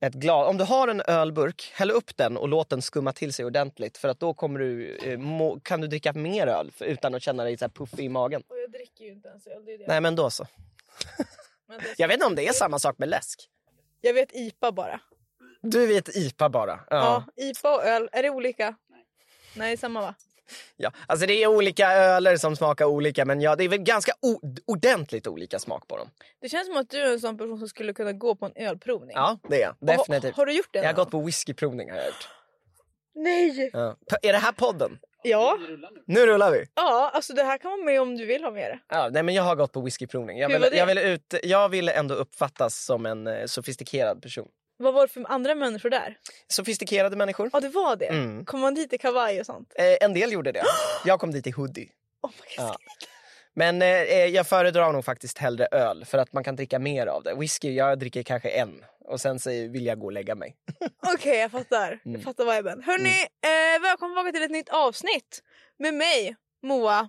ett glas. Om du har en ölburk, häll upp den och låt den skumma till sig ordentligt. För att då kommer du, eh, må, kan du dricka mer öl för, utan att känna dig så här puffig i magen. Och jag dricker ju inte ens öl. Det är det. Nej, men då så. Men det är så- Jag vet inte om det är samma sak med läsk. jag vet IPA bara. Du vet IPA bara. Ja. Ja. Ja. IPA och öl, är det olika? Nej, samma va? Alltså det är olika öler som smakar olika, men ja, det är väl ganska o- ordentligt olika smak på dem. Det känns som att du är en sån person som skulle kunna gå på en ölprovning. Ja, det är jag. Och ha- Definitivt. Har du gjort det? Jag har någon gått på whiskyprovning har jag gjort. gång? Nej! Ja. P- Är det här podden? Ja. Nu rullar vi! ja, alltså det här kan vara med om du vill ha med det. Ja, nej, men jag har gått på whiskyprovning. Jag Hur ville var det? jag ville ut, jag ville ändå uppfattas som en eh, sofistikerad person. Vad var det för andra människor där? Sofistikerade människor. Ja, det var det. Mm. Kom man dit i kavaj och sånt? Eh, en del gjorde det. Jag kom dit i hoodie. Oh my God. Ja. Men eh, eh, jag föredrar nog faktiskt hellre öl för att man kan dricka mer av det. Whisky, jag dricker kanske en och sen så vill jag gå och lägga mig. Okej, jag fattar. Jag Mm. fattar viben. Hörni, eh, välkommen tillbaka till ett nytt avsnitt med mig, Moa.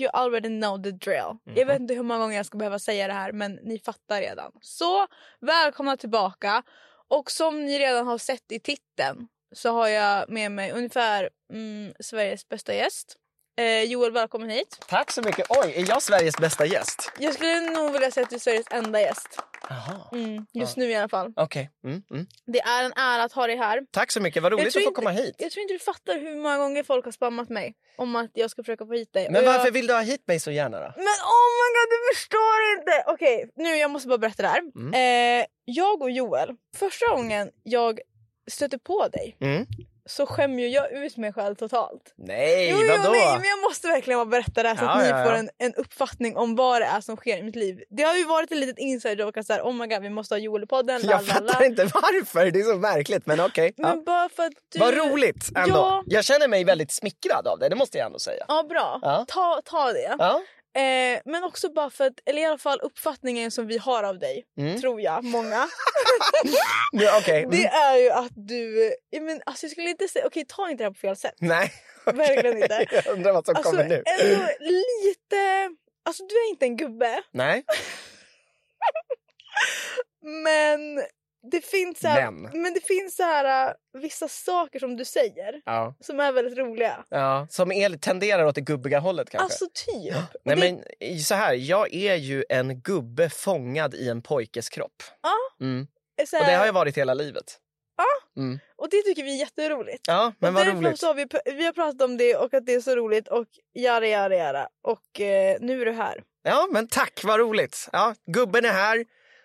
You already know the drill. Jag vet inte hur många gånger jag ska behöva säga det här, men ni fattar redan. Så välkomna tillbaka. Och som ni redan har sett i titeln så har jag med mig ungefär mm, Sveriges bästa gäst. Eh, Joel, välkommen hit. Tack så mycket. Oj, är jag Sveriges bästa gäst? Jag skulle nog vilja säga att du är Sveriges enda gäst. Jaha. Mm, just nu i alla fall. Okej. Mm, mm. Det är en ära att ha dig här. Tack så mycket. Vad Jag roligt att tror få inte- komma hit. Jag tror inte du fattar hur många gånger folk har spammat mig om att jag ska försöka få hit dig. Men Och jag... varför vill du ha hit mig så gärna då? Men oh my god, du förstår inte! Okej, nu jag måste bara berätta det här. Mm. Eh, jag och Joel, första gången jag stötte på dig Mm. så skämmer ju jag ut mig själv totalt. Nej, jo, jo, vadå? nej, men jag måste verkligen bara berätta det här så att Ja, ni ja, får ja. en, en uppfattning om vad det är som sker i mitt liv. Det har ju varit ett litet inside joke att så här, oh my god, vi måste ha Joel i podden. la, Jag la, la. fattar inte varför. Det är så märkligt. Men okej. Men Ja. bara för att du... Vad roligt ändå. Ja. Jag känner mig väldigt smickrad av det. Det måste jag ändå säga. Ja, bra. Ja. Ta, ta det. Ja. Eh, men också bara för att, eller i alla fall uppfattningen som vi har av dig, Mm. tror jag, många. Ja, Okej. Mm. Det är ju att du, ja, men, alltså jag skulle inte säga, okej ta inte det här på fel sätt. Nej. Verkligen inte. Jag undrar vad som Alltså kommer nu. ändå lite, alltså du är inte en gubbe, Nej. men det finns så här, Men. men det finns så här eh, vissa saker som du säger Ja. som är väldigt roliga. Ja, som är, tenderar åt det gubbiga hållet kanske. Alltså typ. Nej det- men i- så här, jag är ju en gubbe fångad i en pojkes kropp. Ja. Mm. är så Och det här- har jag varit hela livet. Mm. och det tycker vi är jätteroligt. Ja, men och vad därifrån roligt. Så har vi, pr- vi har pratat om det och att det är så roligt och jada jada jada. Och eh, nu är du här. Ja, men tack, vad roligt. Ja, gubben är här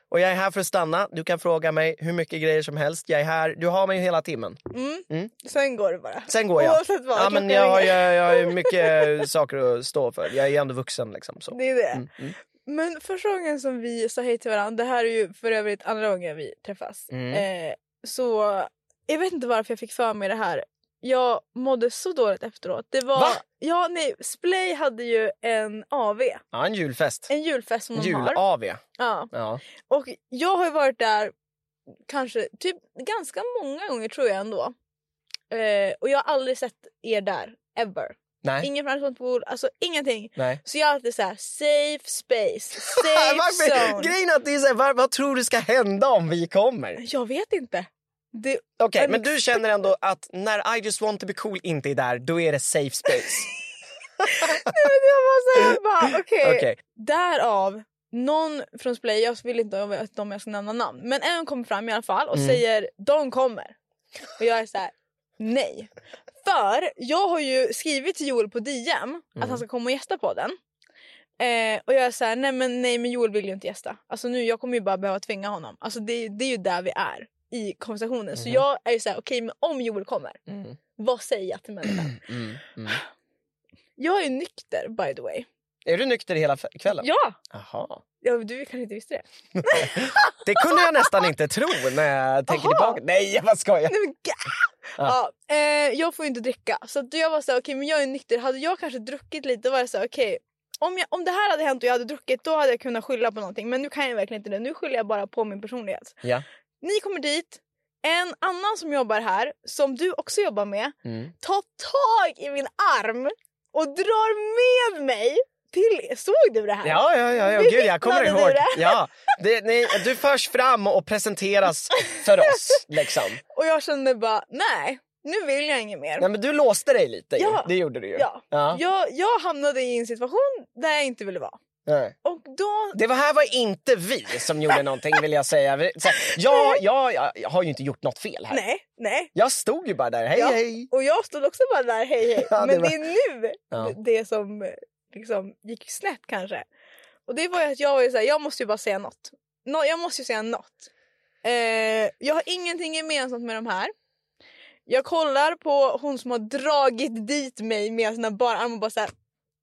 och jag är här för att stanna. Du kan fråga mig hur mycket grejer som helst. Jag är här, du har mig hela timmen. Mm. Mm. Sen går det bara. Sen går jag. Oavsett vad. Ja, klockan men jag har ju ringer. jag har ju mycket saker att stå för. Jag är ju ändå vuxen liksom. Så. Det är det. Mm, mm. Men första gången som vi sa hej till varandra, det här är ju för övrigt andra gången vi träffas. Mm. Eh, så jag vet inte varför jag fick för mig det här. Jag mådde så dåligt efteråt. Det var, Va? Ja, nej, Splay hade ju en AV, Ja, en julfest. en julfest som de har. Jul-AV. Ja. Ja. Och jag har ju varit där kanske typ ganska många gånger tror jag ändå. Eh, och jag har aldrig sett er där, ever. Nej. Ingen fransmansbord, alltså ingenting. Nej. Ah, Så jag är alltid så här: safe space, safe Varför? zone. Grejen är att det är så här, vad, vad tror du ska hända om vi kommer? Okej, Jag vet inte. Det, men du känner ändå att när I just want to be cool inte är där, då är det safe space. nej, men jag var så här, bara okej. Okej, Därav, någon från Splay, jag vill inte att de jag ska nämna namn, men en kommer fram i alla fall och Mm. säger de kommer. Och jag är så här, nej. För jag har ju skrivit till Joel på DM att Mm. han ska komma och gästa på den. Eh, och jag är så här, nej men, nej men Joel vill ju inte gästa. Alltså nu, jag kommer ju bara behöva tvinga honom. Alltså det, det är ju där vi är i konversationen. Så Mhm. jag är ju så här, okej men om Joel kommer, Mm, vad säger jag till människan? mm, mm. Jag är ju nykter by the way. Är du nykter hela f- kvällen? Ja! Jaha. ja du kanske inte visste det? Det kunde jag nästan inte tro när jag tänker Aha. tillbaka. Nej, jag bara skojar. Nej, men, ga- ja. eh, jag får ju inte dricka. Så att jag var så här, okej men jag är nykter. Hade jag kanske druckit lite då var jag så här, okej. Om, jag, om det här hade hänt och jag hade druckit då hade jag kunnat skylla på någonting. Men nu kan jag verkligen inte det. Nu skyller jag bara på min personlighet. Ja. Ni kommer dit. En annan som jobbar här, som du också jobbar med, Mm. tar tag i min arm och drar med mig till... Såg du det här? Ja, ja, ja, ja. gud jag kommer Bevittnade du ihåg. det? Ja. Det, ni, du förs fram och presenteras för oss. Liksom. Och jag kände bara, nej, nu vill jag inget mer. Nej, men du låste dig lite ju. Ja. Det gjorde du ju. Ja. Ja. Jag, jag hamnade i en situation där jag inte ville vara. Nej. Och då... Det var här var inte vi som gjorde någonting vill jag säga. Vi- Så, här, jag, jag, jag har ju inte gjort något fel här. Nej, nej. Jag stod ju bara där, hej Ja. hej. Och jag stod också bara där, hej hej. Ja, det Men var- det är nu Ja. det som eh, liksom gick snett kanske. Och det var ju att jag var ju såhär, jag måste ju bara säga något. Nå, jag måste ju säga något. Eh, jag har ingenting gemensamt med de här. Jag kollar på hon som har dragit dit mig med sina bara armar och bara såhär,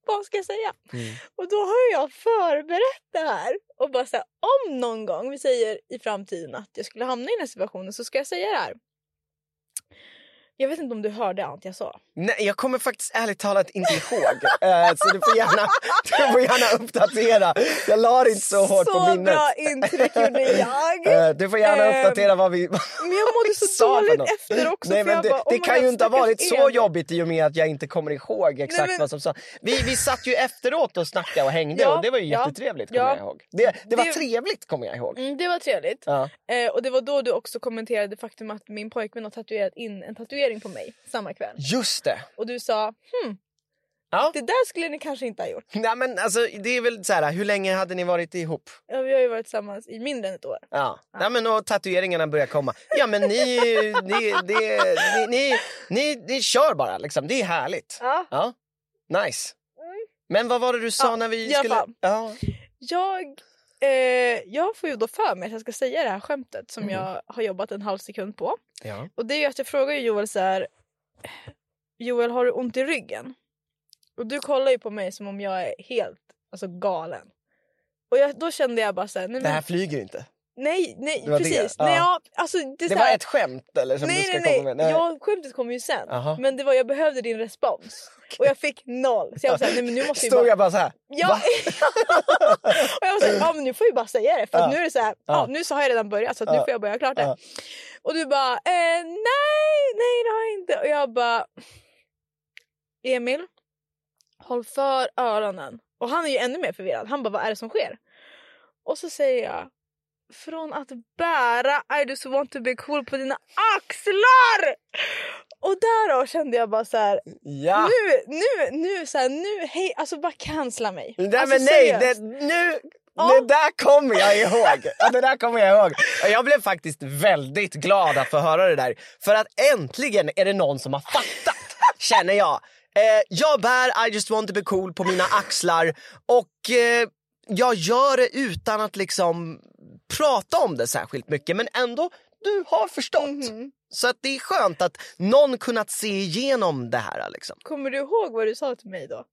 vad ska jag säga? Mm. Och då har jag förberett det här. Och bara såhär, om någon gång, vi säger i framtiden att jag skulle hamna i den här situationen så ska jag säga det här. Jag vet inte om du hörde allt jag sa. Nej, jag kommer faktiskt ärligt talat inte ihåg. Eh, så du får, gärna, du får gärna uppdatera. Jag la det inte så hårt på minnet. bra intryck gjorde jag. Eh, du får gärna Ehm, uppdatera vad vi Men jag mådde så sa för dåligt något. efter också. Nej, för men jag det bara, oh det my kan ju God, inte ha varit stackars så er. jobbigt i och med att jag inte kommer ihåg exakt men- vad som sa. Vi, vi satt ju efteråt och snackade och hängde Ja, och det var ju ja, jättetrevligt kommer ja. jag ihåg. Det, det var Det- trevligt kommer jag ihåg. Mm, det var trevligt. Ja. Eh, och det var då du också kommenterade faktum att min pojkvän har tatuerat in en tatuering på mig samma kväll. Just det. Och du sa, hmm, Ja. det där skulle ni kanske inte ha gjort. Nej, men alltså, det är väl så här, hur länge hade ni varit ihop? Ja, vi har ju varit tillsammans i mindre än ett år. Ja. Nej, men och tatueringarna börjar komma. Ja, men ni, ni, det, ni, ni, ni, ni kör bara. Liksom. Det är härligt. Ja. Ja. Nice. Men vad var det du sa Mm. Ja, när vi i alla skulle... fall. Ja. Jag, eh, jag får ju då för mig att jag ska säga det här skämtet som Mm. jag har jobbat en halv sekund på. Ja. Och det är ju att jag frågar ju Joel så här. Joel har du ont i ryggen? Och du kollar ju på mig som om jag är helt alltså, galen. Och jag, då kände jag bara så här, nej, Det här men, flyger inte. nej, nej Det var det, precis. ja. Nej, ja, alltså, det är Det så här, var ett skämt eller? Som du nej, ska nej, nej, komma med? Ja, skämtet kommer ju sen. Aha. Men det var, jag behövde din respons. Och jag fick noll. Så jag var så här, nej men nu måste jag Stod bara... jag bara så här? Ja. och jag var såhär, ja men nu får vi bara säga det. För att Ja. nu är det såhär, ja. Ja. nu så har jag redan börjat så att nu Ja. får jag börja klart det. Ja. Och du bara, eh, nej, nej det har jag inte. Och jag bara, Emil, håll för öronen. Och han är ju ännu mer förvirrad. Han bara, vad är det som sker? Och så säger jag, från att bära I just want to be cool på dina axlar! Och därav kände jag bara så här, Ja. nu, nu, nu, så här, nu, hej, alltså bara cancella mig. Nej, alltså, men nej, seriöst. det, nu, Ja. det där kommer jag ihåg. Ja, Det där kommer jag ihåg. Och Jag blev faktiskt väldigt glad att få höra det där. För att äntligen är det någon som har fattat, känner jag. Eh, jag bär I just want to be cool på mina axlar och eh, jag gör det utan att liksom prata om det särskilt mycket. Men ändå, du har förstått. Så att det är skönt att någon kunnat se igenom det här. Liksom. Kommer du ihåg vad du sa till mig då?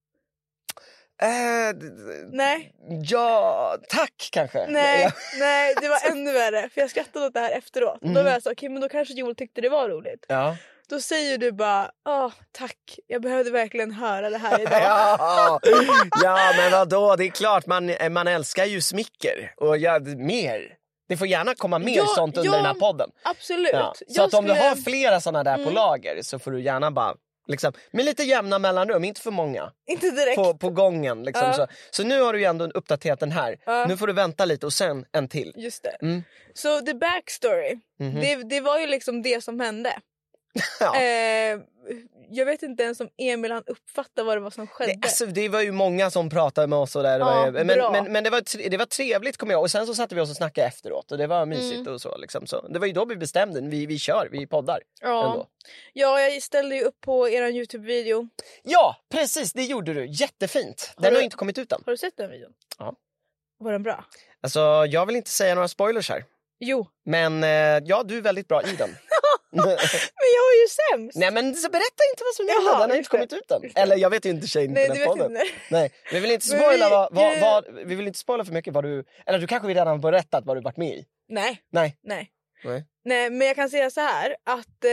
Eh, d- d- Nej, Ja, tack kanske. nej, Ja. nej, det var ännu värre. För jag skrattade åt det här efteråt. Och Då Mm. var jag så, okej men då kanske Joel tyckte det var roligt. Ja. Då säger du bara, ah tack, jag behövde verkligen höra det här idag. Ja. ja, men vadå? Det är klart, man, man älskar ju smicker. Och ja, mer. Det får gärna komma mer Ja, sånt under ja. den här podden. Absolut. Ja. Så Jag att om du skulle- Mm. har flera såna där på lager så får du gärna bara, liksom, med lite jämna mellanrum, inte för många, Inte direkt. på, på gången. Liksom, Ja. så. så nu har du ju ändå uppdaterat den här. Ja. Nu får du vänta lite och sen en till. Just det. Mm. Så the backstory, Mhm. det, det var ju liksom det som hände. Ja. Eh, jag vet inte ens om Emil han uppfattade vad det var som skedde. Det, alltså, det var ju många som pratade med oss och där. Det Ja, var ju, men bra. men, men det, var tre, det var trevligt kommer jag ihåg. Och sen så satte vi oss och snackade efteråt och det var mysigt Mm. och så, liksom. så. Det var ju då vi bestämde, vi, vi kör, vi poddar. ja. Ändå. ja, jag ställde ju upp på er Youtube-video. Ja, precis det gjorde du. Jättefint. Den har, du- inte kommit ut än. Har du sett den videon? Ja. Var den bra? Alltså, jag vill inte säga några spoilers här. Jo, Men eh, ja, du är väldigt bra i den. men jag har ju ju sämst. Nej men så berätta inte vad som är Jaha, den, den har inte just det, kommit ut än. just det. Eller jag vet ju inte tjejen på Nej, den du vet podden. inte. Nej, vi vill inte Men spoila vi- vad, vad, eh, vad, vi vill inte spoila för mycket vad du, eller du kanske redan har berättat vad du varit med i. Nej. Nej. Nej. Nej. Nej, men jag kan säga så här att eh,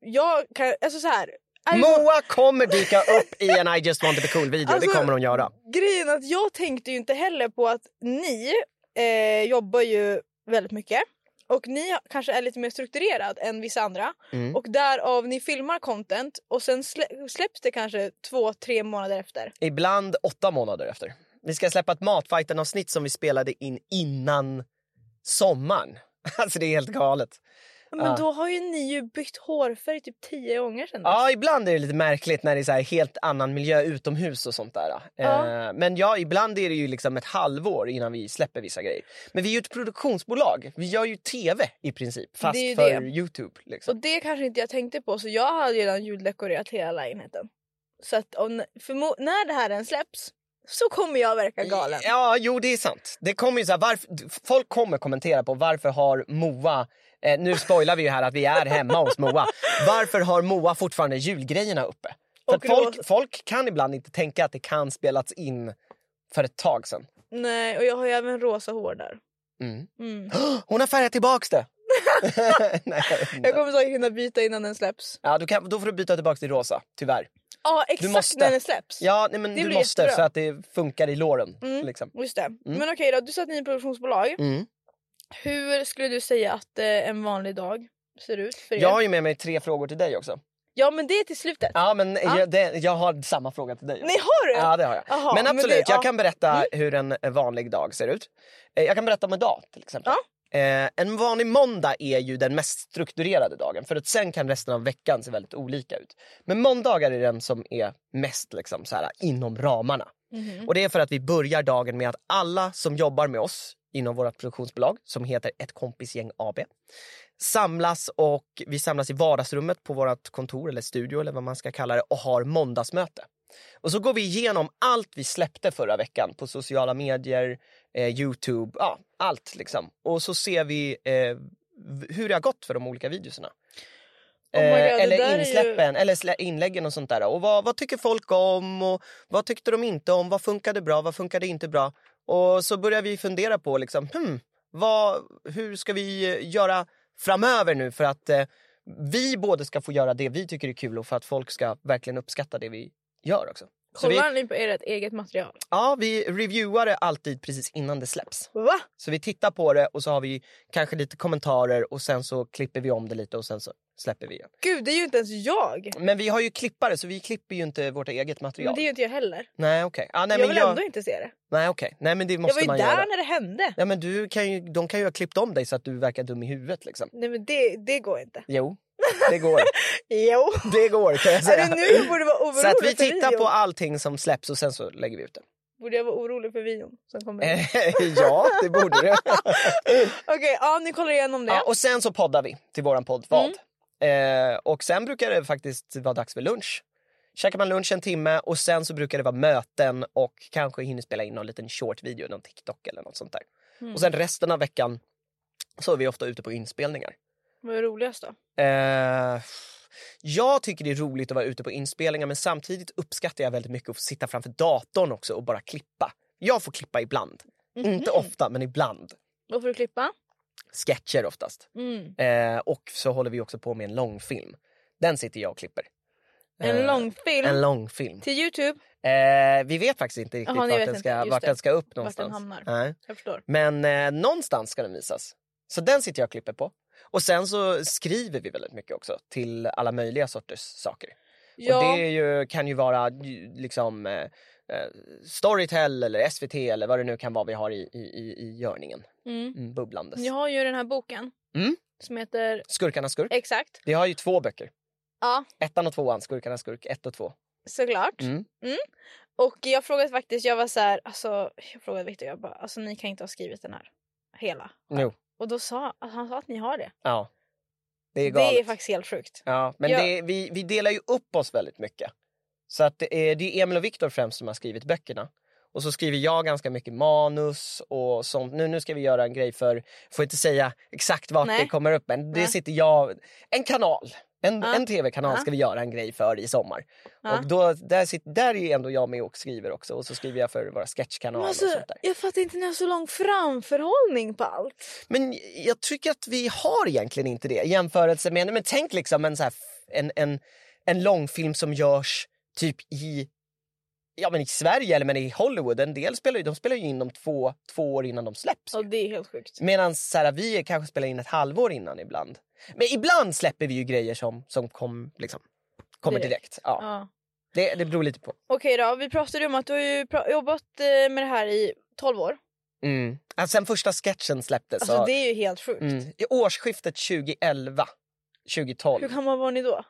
jag kan, alltså så här. I- Moa kommer dyka upp i en I just want to be cool video, det Alltså- kommer hon göra. Grejen är att jag tänkte ju inte heller på att ni eh, jobbar ju väldigt mycket. Och ni har- kanske är lite mer strukturerad än vissa andra. Mm. Och därav ni filmar content och sen slä- släpps det kanske två, tre månader efter. Ibland åtta månader efter. Vi ska släppa ett matfighten avsnitt som vi spelade in innan sommaren. Alltså det är helt galet. Men Ja. då har ju ni ju bytt hårfärg typ tio gånger sedan dess. Ja, ibland är det lite märkligt när det är så här helt annan miljö utomhus och sånt där. Ja. Eh, men ja, ibland är det ju liksom ett halvår innan vi släpper vissa grejer. Men vi är ju ett produktionsbolag. Vi gör ju tv i princip, fast Det är ju för det. Youtube. Och Liksom. det kanske inte jag tänkte på så jag hade redan juldekorerat hela lägenheten. Så att om, förmo- när det här än släpps så kommer jag verka galen. Ja, jo det är sant. Det kommer ju så här, varför, folk kommer kommentera på varför har Moa Eh, nu spoilar vi ju här att vi är hemma hos Moa. Varför har Moa fortfarande julgrejerna uppe? För Och att då- folk, folk kan ibland inte tänka att det kan spelats in för ett tag sedan. Nej, och jag har ju även rosa hår där. Mm. Mm. Hon har färgat tillbaks det! Nej, jag vet inte. Jag kommer säkert hinna byta innan den släpps. ja, du kan, då får du byta tillbaks till rosa, tyvärr. Ja, exakt måste. när den släpps. Ja, nej, men Det du blir måste jättebra. så att det funkar i låren. Mm. Liksom. Just det. Men okej då, du sa att ni är ett produktionsbolag. Mm. Hur skulle du säga att eh, en vanlig dag ser ut för er? Jag har ju med mig tre frågor till dig också. Ja men det är till slutet. Ja, men Ja. Jag, det, jag har samma fråga till dig. Nej har du? Ja, det har jag. Aha, men men absolut, det- ja. Mm. jag kan berätta hur en vanlig dag ser ut. Eh, Jag kan berätta om en dag till exempel. Eh, en vanlig måndag är ju den mest strukturerade dagen för att sen kan resten av veckan se väldigt olika ut. Men måndagar är den som är mest liksom, så här, inom ramarna. Mhm. Och det är för att vi börjar dagen med att alla som jobbar med oss inom vårt produktionsbolag som heter Ett kompisgäng AB samlas och vi samlas i vardagsrummet på vårt kontor eller studio eller vad man ska kalla det och har måndagsmöte. Och så går vi igenom allt vi släppte förra veckan på sociala medier, eh, Youtube, ja allt liksom. Och så ser vi eh, v- hur det har gått för de olika videorna. Eh, Oh my God, det där är eller ju- insläppen, eller slä- inläggen och sånt där. Och vad, vad tycker folk om? Och vad tyckte de inte om? Vad funkade bra? Vad funkade inte bra? Och så börjar vi fundera på liksom, hmm, vad, hur ska vi eh, göra framöver nu för att eh, vi både ska få göra det vi tycker är kul och för att folk ska verkligen uppskatta det vi gör också. Så vi, Kollar ni på ert eget material? ja, vi reviewar det alltid precis innan det släpps. Va? Så vi tittar på det och så har vi kanske lite kommentarer och sen så klipper vi om det lite och sen så släpper vi igen. Gud det är ju inte ens jag. Men vi har ju klippare så vi klipper ju inte vårt eget material. Men det är ju inte jag heller. Nej okej. Ah, nej, jag men vill jag... ändå inte se det. Nej okej. Nej men det Jag var måste ju där man göra. när det hände. Ja, men du kan ju, de kan ju ha klippt om dig så att du verkar dum i huvudet liksom. Nej men det, det går inte. Jo, det går. Jo. det går kan jag Är säga. det nu jag borde vara orolig Så att vi för tittar videon? på allting som släpps och sen så lägger vi ut det. Borde jag vara orolig för videon som kommer? Eh, Mm. ja, det borde du. Okej, ja ni kollar igenom det. ja, Eh, och sen så poddar vi till våran podd Vad. Eh, och sen brukar det faktiskt vara dags för lunch. Käkar man lunch en timme och sen så brukar det vara möten och kanske hinner spela in någon liten short video, någon TikTok eller något sånt där. Mm. Och sen resten av veckan så är vi ofta ute på inspelningar. Vad är roligast då? Eh, jag tycker det är roligt att vara ute på inspelningar men samtidigt uppskattar jag väldigt mycket att få sitta framför datorn också och bara klippa. Jag får klippa ibland. Inte ofta, men ibland. Vad får du klippa? Sketcher oftast. Mm. Eh, och så håller vi också på med en långfilm. Den sitter jag och klipper. En Eh, långfilm En långfilm. till Youtube. Eh, vi vet faktiskt inte riktigt Jaha, ni vart, vet den inte. ska, Just vart det. den ska upp den någonstans. hamnar. Nej. Jag förstår. Men eh, någonstans ska den visas. Så den sitter jag och klipper på. Och sen så skriver vi väldigt mycket också till alla möjliga sorters saker. Och Ja, det är ju, kan ju vara ju, liksom eh, eh, Storytel eller SVT eller vad det nu kan vara vi har i, i, i, i görningen. mm. Mm, bubblandes. Ni har ju den här boken Mm. som heter Skurkarnas skurk. Exakt. Vi har ju två böcker. Ja, Ettan och tvåan, Skurkarnas skurk ett och två. såklart. Mm. Och jag frågade faktiskt, jag var så här, alltså, jag frågade Victor, jag bara, alltså ni kan inte ha skrivit den här hela. Jo, Och då sa alltså, han sa att ni har det. ja. Det är Det galet. är faktiskt helt sjukt. Ja, men Ja. Det, vi, vi delar ju upp oss väldigt mycket. Så att det, är, det är Emil och Viktor främst som har skrivit böckerna. Och så skriver jag ganska mycket manus och sånt. Nu, nu ska vi göra en grej för, får inte säga exakt vart Nej. det kommer upp men det Nej. sitter jag, en kanal. En, Ja. en tv-kanal Ja. ska vi göra en grej för i sommar. Ja. Och då, där, sit, där är ju ändå jag med och skriver också. Och så skriver jag för våra Men sketchkanaler alltså, och sånt där. jag fattar inte när jag har så lång framförhållning på allt. Men jag tycker att vi har egentligen inte det i jämförelse med... Men tänk liksom en, så här, en, en, en långfilm som görs typ i, ja, men i Sverige eller men i Hollywood. En del spelar ju, de spelar ju in dem två, två år innan de släpps. Ja, det är helt sjukt. Medan så här, vi kanske spelar in ett halvår innan ibland. Men ibland släpper vi ju grejer som, som kom, liksom, kommer direkt. Direkt. Ja, Ja. Det, det beror lite på. Okej då, vi pratade ju om att du har ju pra- jobbat eh, med det här i 12 år. Mm. Alltså, sen första sketchen släpptes. Alltså så, det är ju helt sjukt. mm, I årsskiftet 2011, 2012. Hur gammal var ni då?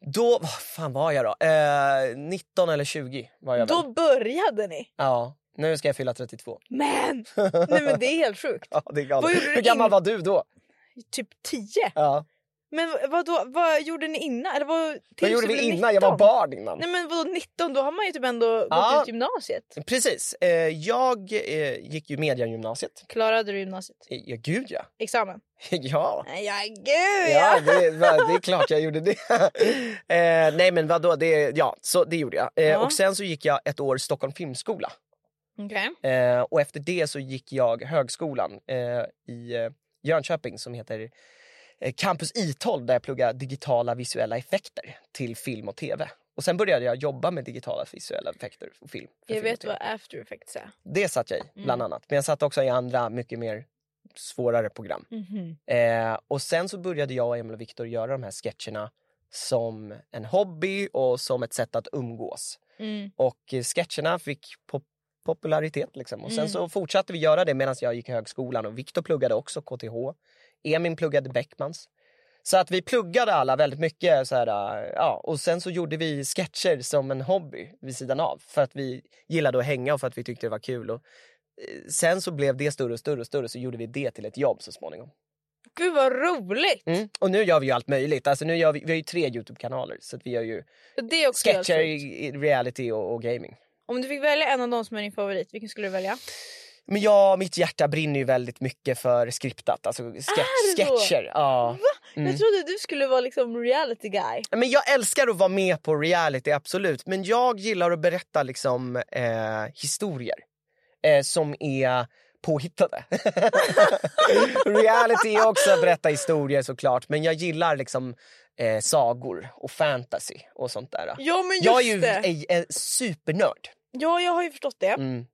Då, vad fan var jag då? Eh, 19 eller 20 var jag väl. Då började ni! Ja, nu ska jag fylla 32. Men! Nej men det är helt sjukt. Ja, det är galet. Vad gjorde du Hur gammal in- var du då? Typ 10. Ja. Men v- vadå, vad gjorde ni innan? Eller vad, Vad tills gjorde du vi blev innan? Jag var 19? barn innan. Nej men vadå 19, då har man ju typ ändå gått Ja. ut gymnasiet. Precis. Eh, jag eh, gick ju mediagymnasiet. Klarade du gymnasiet? Eh, Ja, gud ja. Examen? ja. Nej, Ja gud Ja, ja! det, va- det är klart jag gjorde det. eh, nej men vadå, det, ja, så det gjorde jag. Eh, Ja. Och sen så gick jag ett år Stockholm filmskola. Okej. Eh, och efter det så gick jag högskolan eh, i eh, Jönköping som heter eh, Campus I12 där jag pluggade digitala visuella effekter till film och tv. Och sen började jag jobba med digitala visuella effekter och film. för Jag film och vet Mm. TV. vad after effects är. Det satt jag i, bland annat. Men jag satt också i andra, mycket mer svårare program. Eh, och sen så började jag och Emil och Viktor göra de här sketcherna som en hobby och som ett sätt att umgås. Mm. Och eh, sketcherna fick pop- popularitet. Liksom. Och sen Mm. så fortsatte vi göra det medan jag gick i högskolan. Och Viktor pluggade också KTH. Emin pluggade Beckmans. Så att vi pluggade alla väldigt mycket. Så här, äh, ja. Och sen så gjorde vi sketcher som en hobby vid sidan av. För att vi gillade att hänga och för att vi tyckte det var kul. Och eh, sen så blev det större och större och större. Så gjorde vi det till ett jobb så småningom. Gud vad roligt! Mm. Och nu gör vi ju allt möjligt. Alltså nu gör vi, vi har ju tre Youtube-kanaler. Så att vi gör ju Det är också helt sketcher, sjukt. i- i reality och, och gaming. Om du fick välja en av dem som är din favorit, vilken skulle du välja? Men jag, mitt hjärta brinner ju väldigt mycket för skriptat, alltså sketch, Är det så? sketcher. Ja. Mm. Jag trodde du skulle vara liksom reality guy. Men jag älskar att vara med på reality, absolut. Men jag gillar att berätta liksom, eh, historier eh, som är påhittade. reality är också att berätta historier såklart. Men jag gillar liksom eh, sagor och fantasy och sånt där. Ja men just Jag är ju det! en, en supernörd. Ja jag har ju förstått det. Mm,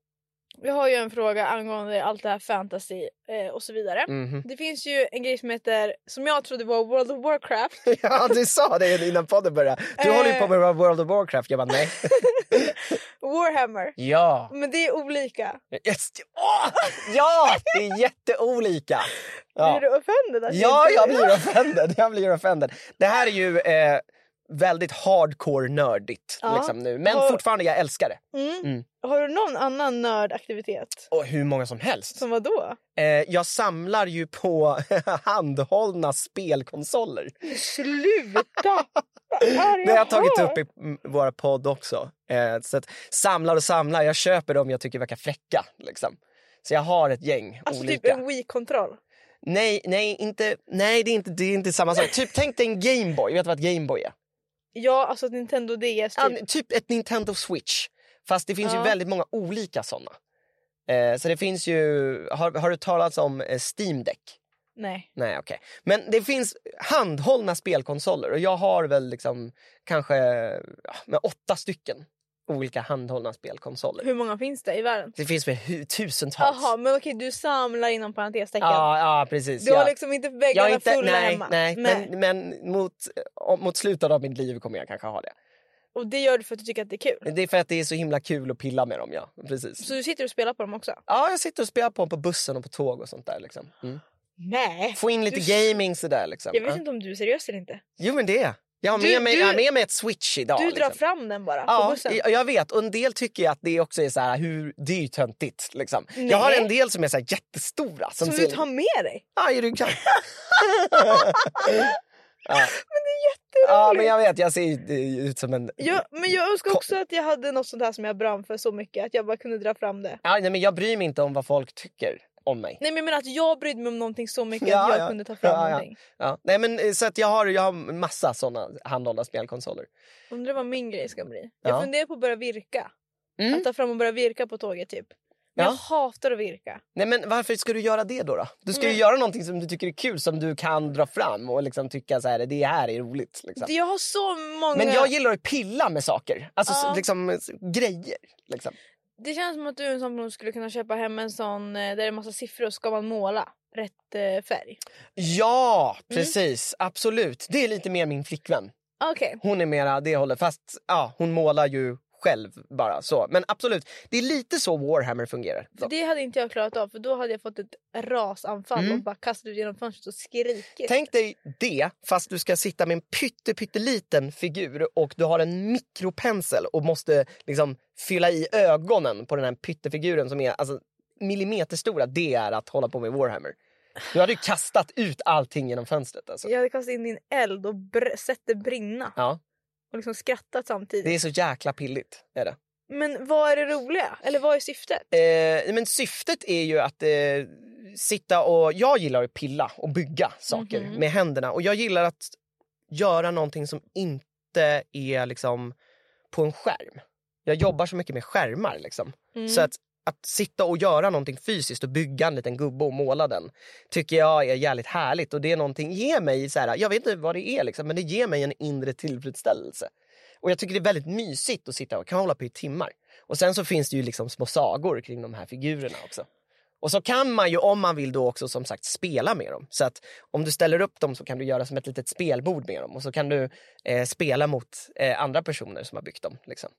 Vi har ju en fråga angående allt det här fantasy eh, och så vidare. mhm. Det finns ju en grej som heter, som jag trodde var World of Warcraft. Ja, du sa det innan podden började. Du Eh. håller ju på med World of Warcraft. Jag bara, nej. Warhammer. Ja. Men det är olika. Yes. Åh! Ja, det är jätteolika. Ja. Blir du offended? att ja, inte- jag blir offended. Jag blir offended. Det här är ju eh, väldigt hardcore nördigt Ja. liksom nu. Men Har- fortfarande, jag älskar det. Mm. Mm. Har du någon annan nördaktivitet? Och hur många som helst. Som vad då? Eh, jag samlar ju på handhållna spelkonsoler. Sluta! Vad är Det har jag tagit hör? upp i mm, våra podd också. Eh, så att, samlar och samlar, jag köper dem jag tycker verkar fräcka. Liksom. Så jag har ett gäng Alltså olika. typ en Wii-kontroll. Nej, nej, inte, nej det, är inte, det är inte samma sak. Typ tänk dig en Gameboy. Vet du vad ett Gameboy är? Ja, alltså ett Nintendo DS typ. Ja, typ ett Nintendo Switch. Fast det finns ju Ja. väldigt många olika såna. Eh, så det finns ju... Har, har du talat om eh, Steam Deck? Nej. Nej, okej. Men det finns handhållna spelkonsoler och jag har väl liksom kanske ja, med åtta stycken olika handhållna spelkonsoler. Hur många finns det i världen? Det finns väl hu- tusentals. Jaha, men okej du samlar inom parentestecken. ja, ja, precis. Du har ja. liksom inte Jag väggarna är inte, fulla nej, hemma? nej, men, men mot, om- mot slutet av mitt liv kommer jag kanske ha det. Och det gör du för att du tycker att det är kul? Det är för att det är så himla kul att pilla med dem. ja. Precis. Mm. Så du sitter och spelar på dem också? Ja, jag sitter och spelar på dem på bussen och på tåg och sånt där. Liksom. Mm. Nej! Få in lite Du- gaming sådär. Liksom. Jag vet Ja. inte om du är seriös eller inte. Jo men det är jag. jag. Har Du- med mig, du- jag har med mig ett switch idag. Du drar liksom. fram den bara på Ja, bussen. jag- jag vet. Och en del tycker ju att det också är så här, hur, det är ju töntigt. Liksom. Jag har Nej. en del som är så här jättestora. Som, Som ser- du tar med dig? Ja, i ryggen. ja. ja, men jag vet. Jag ser ju eh, ut som en... Jag, men jag önskar Ko- också att jag hade något sånt här som jag brann för så mycket att jag bara kunde dra fram det. Ja, nej, men jag bryr mig inte om vad folk tycker om mig. Nej men jag menar att jag brydde mig om någonting så mycket Ja, att jag ja. kunde ta fram Ja, ja. någonting. Ja. Nej, men, eh, så att jag, har, jag har massa såna handhållna spelkonsoler. Undrar vad min grej ska bli. Jag Ja. funderar på att börja virka. Mm. Att ta fram och börja virka på tåget typ. Men Ja. jag hatar att virka. Nej, men varför ska du göra det då? då? Du ska ju Nej. göra någonting som du tycker är kul, som du kan dra fram och liksom tycka så här, det här är roligt. Liksom. Jag har så många... Men jag gillar att pilla med saker, alltså Ja. s- liksom, s- grejer. Liksom. Det känns som att du är en sån person som skulle kunna köpa hem en sån eh, där det är massa siffror och ska man måla rätt eh, färg. Ja, Mm. precis. Absolut. Det är lite mer min flickvän. Okej. Hon är mera det hållet, fast ja, hon målar ju själv bara så. Men absolut, det är lite så Warhammer fungerar. För det hade inte jag klarat av för då hade jag fått ett rasanfall Mm. och bara kastat ut genom fönstret och skrikit. Tänk dig det, fast du ska sitta med en pytte, pytteliten figur och du har en mikropensel och måste liksom fylla i ögonen på den här pyttefiguren som är alltså, millimeterstora. Det är att hålla på med Warhammer. Du hade ju kastat ut allting genom fönstret. Alltså. Jag hade kastat in i en eld och br- sett det brinna Ja, och liksom skrattat samtidigt. det är så jäkla pilligt. Är det. Men vad är det roliga? Eller vad är syftet? Eh, men syftet är ju att eh, sitta och... Jag gillar att pilla och bygga saker Mhm. med händerna. Och jag gillar att göra någonting som inte är liksom på en skärm. Jag jobbar så mycket med skärmar. Liksom. Mm. Så att, att sitta och göra någonting fysiskt och bygga en liten gubbe och måla den tycker jag är jävligt härligt. Och det är någonting, ger mig, så här, jag vet inte vad det är, liksom, men det ger mig en inre tillfredsställelse. Och jag tycker det är väldigt mysigt att sitta och kan hålla på i timmar. Och sen så finns det ju liksom små sagor kring de här figurerna också. Och så kan man ju om man vill då också som sagt spela med dem. Så att om du ställer upp dem så kan du göra som ett litet spelbord med dem. Och så kan du eh, spela mot eh, andra personer som har byggt dem. Liksom.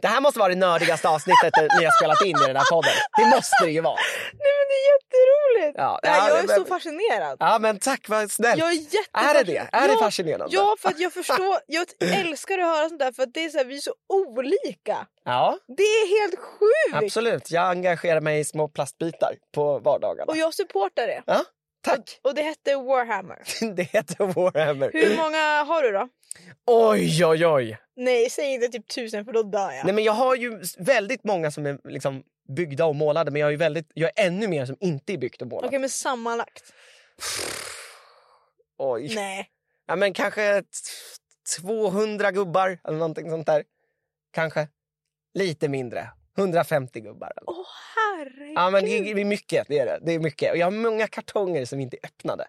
Det här måste vara det nördigaste avsnittet ni har spelat in i den här podden. Det måste det ju vara. Nej men det är jätteroligt! Ja, Nej, ja, jag är men- så fascinerad. Ja men tack vad snällt. Jag är Är det jättefascinerad. det? Är det Ja, fascinerande? Ja, för att jag förstår. Jag älskar att höra sånt där för att det är så här, vi är så olika. ja Det är helt sjukt! absolut. Jag engagerar mig i små plastbitar på vardagarna. Och jag supportar det. Tack! Och det hette Warhammer. Det heter Warhammer. Hur många har du då? Oj oj oj. Nej, säg inte typ tusen för då dör jag. Nej, men jag har ju s- väldigt många som är liksom byggda och målade men jag är, väldigt, jag är ännu mer som inte är byggt och målat. Okej, men sammanlagt? Oj. Nej. Ja, men kanske t- 200 gubbar eller någonting sånt där. Kanske. Lite mindre. 150 gubbar. eller- Åh herregud. Ja, men det är mycket. Det är det. det är mycket. Och jag har många kartonger som inte är öppnade.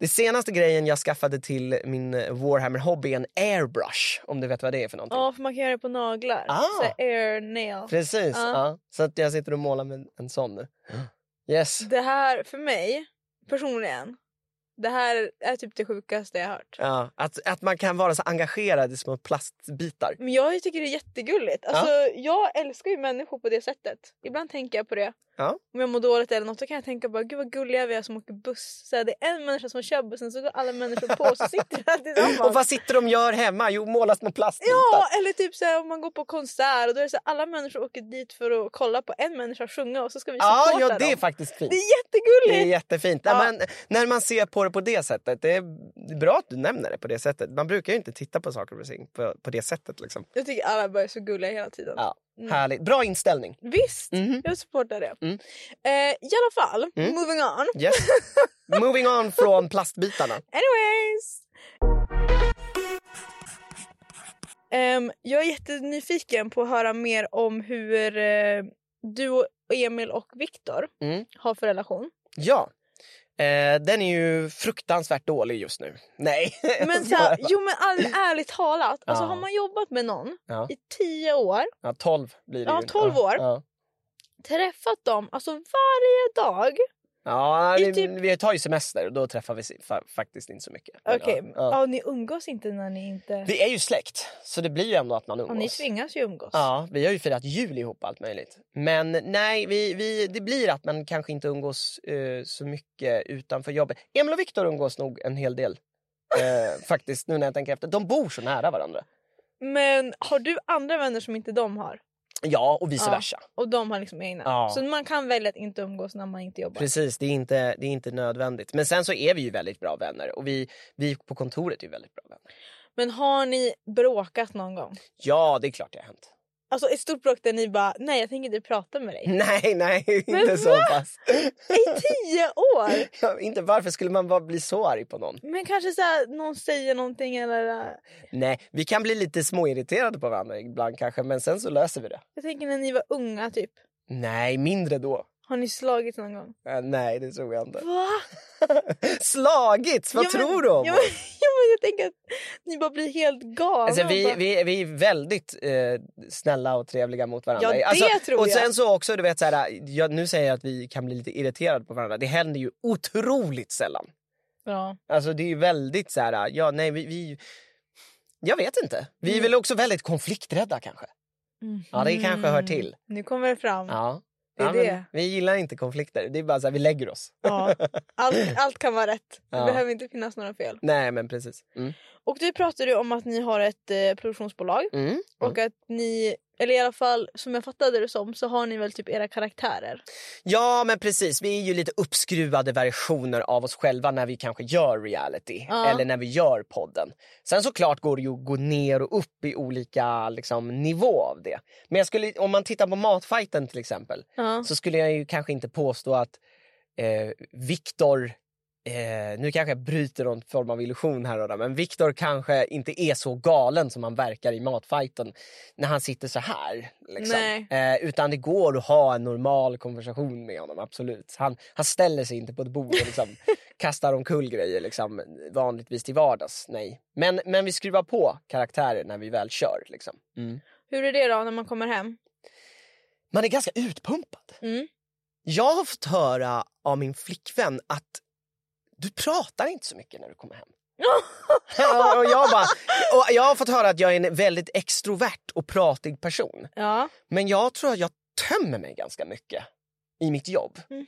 Det senaste grejen jag skaffade till min Warhammer-hobby är en airbrush. Om du vet vad det är för någonting. Ja, för man kan göra det på naglar. Ah. Så här, air nail. Precis. Ja. Ja. Så att jag sitter och målar med en- en sån nu. Yes. Det här, för mig, personligen, det här är typ det sjukaste jag hört. Ja, att, att man kan vara så engagerad i små plastbitar. Men jag tycker det är jättegulligt. Alltså, Jag älskar ju människor på det sättet. Ibland tänker jag på det. Ja. Om jag mår dåligt eller något då kan jag tänka bara gud vad gulliga vi är som åker buss. Så här, det är en människa som kör bussen så går alla människor på och så sitter vi där tillsammans. Och vad sitter de och gör hemma? Jo, målar små plastbitar. Ja, eller typ så här, om man går på konsert och då är det så här, alla människor åker dit för att kolla på en människa sjunga och så ska vi ja, supporta ja, det är dem. faktiskt fint. Det är Det är jättegulligt! jättefint. Ja. När, man, när man ser på det på det sättet. Det är bra att du nämner det på det sättet. Man brukar ju inte titta på saker och ting på, på det sättet. Liksom. Jag tycker alla bara är så gulliga hela tiden. Ja. Mm. Mm-hmm. Härligt. Bra inställning. Visst, Mhm. jag supportar det. Mm. Eh, I alla fall, Mm. moving on. Yes. Moving on från plastbitarna. Anyways! Ehm, jag är jättenyfiken på att höra mer om hur eh, du, och Emil och Viktor Mm. har för relation. Ja. Eh, den är ju fruktansvärt dålig just nu. Nej. Men så här, jo men all, ärligt talat, alltså, Ja. har man jobbat med någon Ja. i tio år, Ja, 12 blir det Ja, ju. 12 år. Ja. träffat dem alltså varje dag. Ja, I vi, typ- vi tar ju semester och då träffar vi si- fa- faktiskt inte så mycket. Men, Okej, ja, ja. ja. ni umgås inte när ni inte... Vi är ju släkt, så det blir ju ändå att man Ja, ni umgås. tvingas ju umgås. Ja, vi har ju firat jul ihop allt möjligt. Men nej, vi, vi, det blir att man kanske inte umgås eh, så mycket utanför jobbet. Emil och Viktor umgås nog en hel del. Eh, faktiskt, nu när jag tänker efter. De bor så nära varandra. Men har du andra vänner som inte de har? Ja, och vice Ja. versa. Och de har liksom egna. Ja. Så man kan välja att inte umgås när man inte jobbar. Precis, det är, inte, det är inte nödvändigt. Men sen så är vi ju väldigt bra vänner och vi, vi på kontoret är ju väldigt bra vänner. Men har ni bråkat någon gång? Ja, det är klart det har hänt. Alltså ett stort block där ni bara, nej jag tänker inte prata med dig. Nej, nej, Men inte så va? pass. I tio år! Ja, inte varför skulle man bara bli så arg på någon? Men kanske så här, någon säger någonting eller... äh, Nej, vi kan bli lite småirriterade på varandra ibland kanske, men sen så löser vi det. Jag tänker när ni var unga typ. Nej, mindre då. Har ni slagit någon gång? Äh, nej, det tror jag inte. Va? Slagits! Vad Ja, men- tror du om Ja oss? men, ja, men jag tänker att ni bara blir helt galna. Alltså, vi, bara, vi, vi är väldigt eh, snälla och trevliga mot varandra. Ja, det alltså, tror och jag. sen så också, du vet, så här, jag, nu säger jag att vi kan bli lite irriterade på varandra. Det händer ju otroligt sällan. Ja. Alltså det är ju väldigt så här, ja nej vi... vi jag vet inte. Vi är Mm. väl också väldigt konflikträdda kanske. Ja, det kanske hör till. Mm. Nu kommer det fram. Ja. Ja. Det är ja, men det. Vi gillar inte konflikter. Det är bara så här, vi lägger oss. Allt, allt kan vara rätt. Det Ja. behöver inte finnas några fel. Nej, men precis. Mm. Och du pratade ju om att ni har ett eh, produktionsbolag Mm. och att ni, eller i alla fall som jag fattade det som, så har ni väl typ era karaktärer. Ja, men precis. Vi är ju lite uppskruvade versioner av oss själva när vi kanske gör reality Ja. eller när vi gör podden. Sen såklart går det ju att gå ner och upp i olika liksom, nivå av det. Men jag skulle, om man tittar på Matfighten till exempel Ja. så skulle jag ju kanske inte påstå att eh, Viktor Eh, nu kanske jag bryter någon form av illusion här och där, men Viktor kanske inte är så galen som han verkar i matfighten när han sitter så här. Liksom. Nej. Eh, utan det går att ha en normal konversation med honom, absolut. Han, han ställer sig inte på ett bord och liksom, kastar omkull grejer liksom, vanligtvis till vardags. Nej. Men, men vi skruvar på karaktärer när vi väl kör. Liksom. Hur är det då när man kommer hem? Man är ganska utpumpad. Mm. Jag har fått höra av min flickvän att du pratar inte så mycket när du kommer hem. och, jag bara, och jag har fått höra att jag är en väldigt extrovert och pratig person. ja. Men jag tror att jag tömmer mig ganska mycket i mitt jobb. Mhm.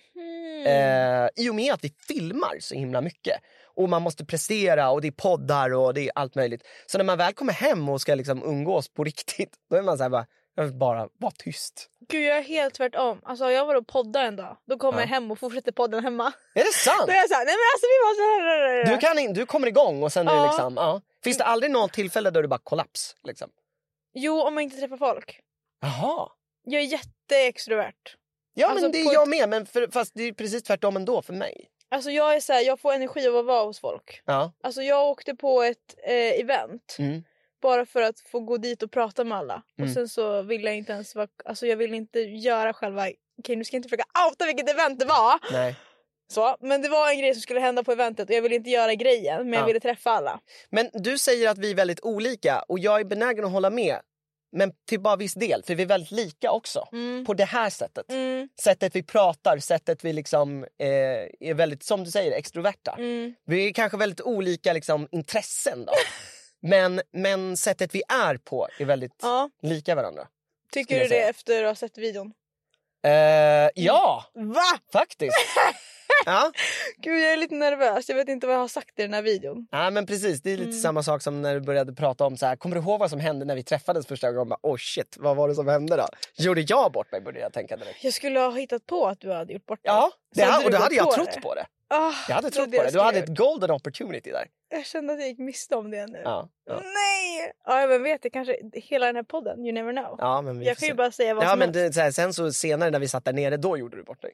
Eh, I och med att vi filmar så himla mycket. Och man måste prestera och det är poddar och det är allt möjligt. Så när man väl kommer hem och ska liksom umgås på riktigt, då är man så här bara, jag vill bara vara tyst. Gud jag är helt tvärtom. Alltså jag var och poddade en dag. Då kommer Ja. jag hem och fortsätter podden hemma. Är det sant? Då är jag såhär, nej men alltså vi måste... Du, kan in, du kommer igång och sen är det Ja. liksom... Ja. Finns det aldrig något tillfälle då du bara kollaps? Liksom? Jo om man inte träffar folk. Jaha. Jag är jätteextrovert. Ja, Alltså, men det på är jag med. Men för, fast det är precis tvärtom ändå för mig. Alltså jag är så här, jag får energi av att vara hos folk. Ja. Alltså jag åkte på ett eh, event Mm. bara för att få gå dit och prata med alla. Mm. Och sen så ville jag inte ens vara, alltså jag ville inte göra själva, okej nu ska jag inte försöka outa vilket event det var. Nej. Så, men det var en grej som skulle hända på eventet och jag ville inte göra grejen men Ja. jag ville träffa alla. Men du säger att vi är väldigt olika och jag är benägen att hålla med. Men till bara viss del, för vi är väldigt lika också. Mm. På det här sättet. Mm. Sättet vi pratar, sättet vi liksom eh, är väldigt, som du säger, extroverta. Mm. Vi är kanske väldigt olika liksom, intressen då. men, men sättet vi är på är väldigt Ja, lika varandra. tycker Skulle du jag det säga. efter att ha sett videon? Eh, ja, Va? faktiskt. ja. Gud jag är lite nervös, jag vet inte vad jag har sagt i den här videon. ja, men precis. Det är lite Mm. samma sak som när du började prata om så här. Kommer du ihåg vad som hände när vi träffades första gången? Bara, oh shit, vad var det som hände då? Gjorde jag bort mig? Började jag tänka direkt. Jag skulle ha hittat på att du hade gjort bort det. Ja, det, Så hade och du då gått hade jag på trott det? på det. Ah, Jag hade det trott var på det jag det. Du skulle hade gjort. ett golden opportunity där. Jag kände att jag gick miste om det nu. Ja, ja. Nej! Ja, vem vet, det kanske hela den här podden, you never know. ja men vi jag får kan ju se. bara säga vad Ja, som men helst. det, så här, sen så senare när vi satt där nere, då gjorde du bort dig.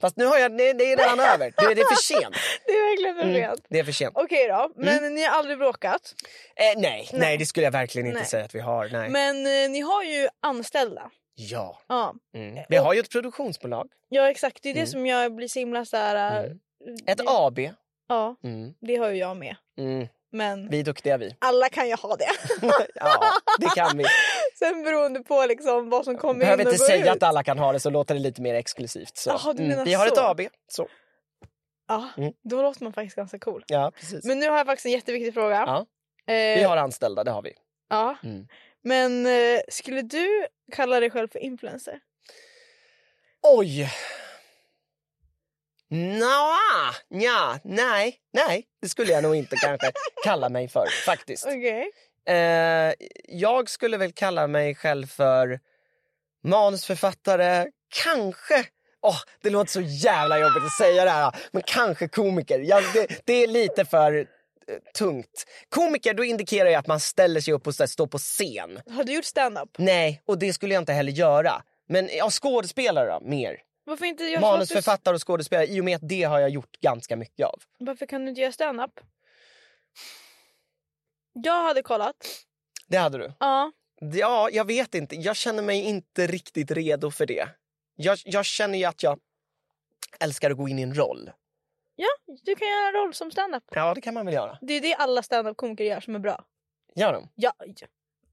Fast nu har jag, nej, det är redan över. Du, det är för sent. Det är verkligen för Mm, sent. det är för sent. Okej då, men ni har aldrig bråkat. Eh, nej, nej, det skulle jag verkligen inte Nej. säga att vi har. Nej. Men eh, ni har ju anställda. Ja. Ja, Mm. Vi har ju ett produktionsbolag. ja exakt. Det är det Mm. som jag blir så himla så här... eh, Mm. Ett det- AB. Ja, Mm. det har ju jag med. Mm. Men Vi är duktiga vi. alla kan ju ha det. ja, det kan vi. Sen beroende på liksom vad som kommer Behöver in och inte går säga ut. att alla kan ha det så låter det lite mer exklusivt. Så. Mm. Jaha, du menar Vi har ett så. AB. Så. Ja, Mm. då låter man faktiskt ganska cool. Ja, precis. Men nu har jag faktiskt en jätteviktig fråga. Ja. Eh, Vi har anställda, det har vi. Ja. Mm. Men eh, skulle du kalla dig själv för influencer? Oj! Nja, nja, nej, nej, det skulle jag nog inte kanske kalla mig för faktiskt. Okej. Eh, jag skulle väl kalla mig själv för manusförfattare, kanske Åh, det låter så jävla jobbigt att säga det här, men kanske komiker. Jag, det, det är lite för eh, tungt. Komiker, då indikerar ju att man ställer sig upp och så här, står på scen. Har du gjort stand-up? Nej, och det skulle jag inte heller göra. Men ja, skådespelare då, mer. Varför, inte göra så att du... Manusförfattare och skådespelare, i och med att det har jag gjort ganska mycket av. Varför kan du inte göra stand-up? Jag hade kollat. Det hade du? Ja. Ja, jag vet inte. Jag känner mig inte riktigt redo för det. Jag, jag känner ju att jag älskar att gå in i en roll. ja, du kan göra en roll som stand-up. Ja, det kan man väl göra. Det är det alla stand-up-komiker gör som är bra. Gör de? Ja.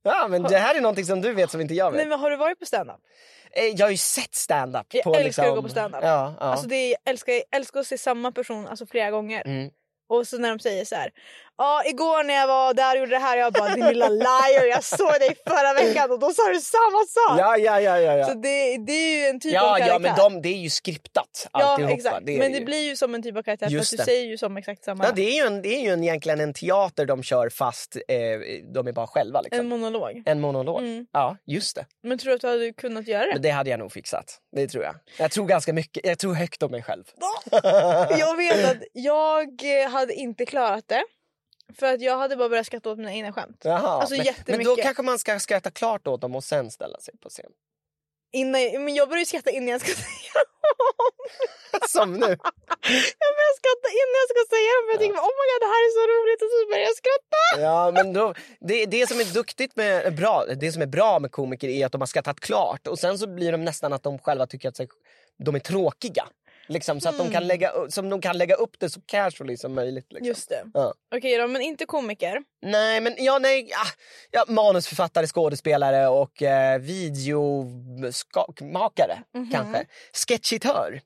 Ja, men det här är någonting som du vet som inte jag vet. Nej, men har du varit på stand-up? Eh, Jag har ju sett stand-up. Jag på älskar liksom... att gå på stand-up. Ja, ja. Alltså det är, jag, älskar, jag älskar att se samma person alltså, flera gånger. Mm. Och så när de säger så här. Ja, igår när jag var där och gjorde det här. Jag bara, din lilla liar. Jag såg dig förra veckan och då sa du samma sak. ja, ja, ja, ja, ja. Så det, det är ju en typ av ja, karaktär. ja, men de, det är ju skriptat Ja, alltihopa. exakt. är men det det ju. blir ju som en typ av karaktär Just för det. att du säger ju som exakt samma. Ja, det är ju, en, det är ju en, egentligen en teater de kör fast eh, de är bara själva. Liksom. En En, monolog. monolog. Mm. Ja, just det. Men tror du att du hade kunnat göra det? Men det hade jag nog fixat. Det tror jag. Jag tror ganska mycket. Jag tror högt om mig själv. Jag vet att jag eh, hade inte klarat det. För att jag hade bara börjat skratta åt mina egna skämt. Jaha, Alltså men, men jättemycket. då kanske man ska skratta klart åt dem och sen ställa sig på scen. Innan jag, men jag började ju skratta innan jag ska säga dem. Som nu. Jag börjar skratta innan jag ska säga dem. Jag tänker bara, oh my god det här är så roligt och så börjar jag skratta. Ja, men då, det, det som är duktigt med bra, det som är bra med komiker är att de har skrattat klart och sen så blir de nästan att de själva tycker att sig, de är tråkiga. Liksom, så att de kan lägga, som de kan lägga upp det så casually som möjligt. Liksom. Mm. Just det. Ja. Okej då men inte komiker. Nej, men ja, nej, ah, ja, manusförfattare, skådespelare och eh, videomakare Mhm. kanske. Sketchitör.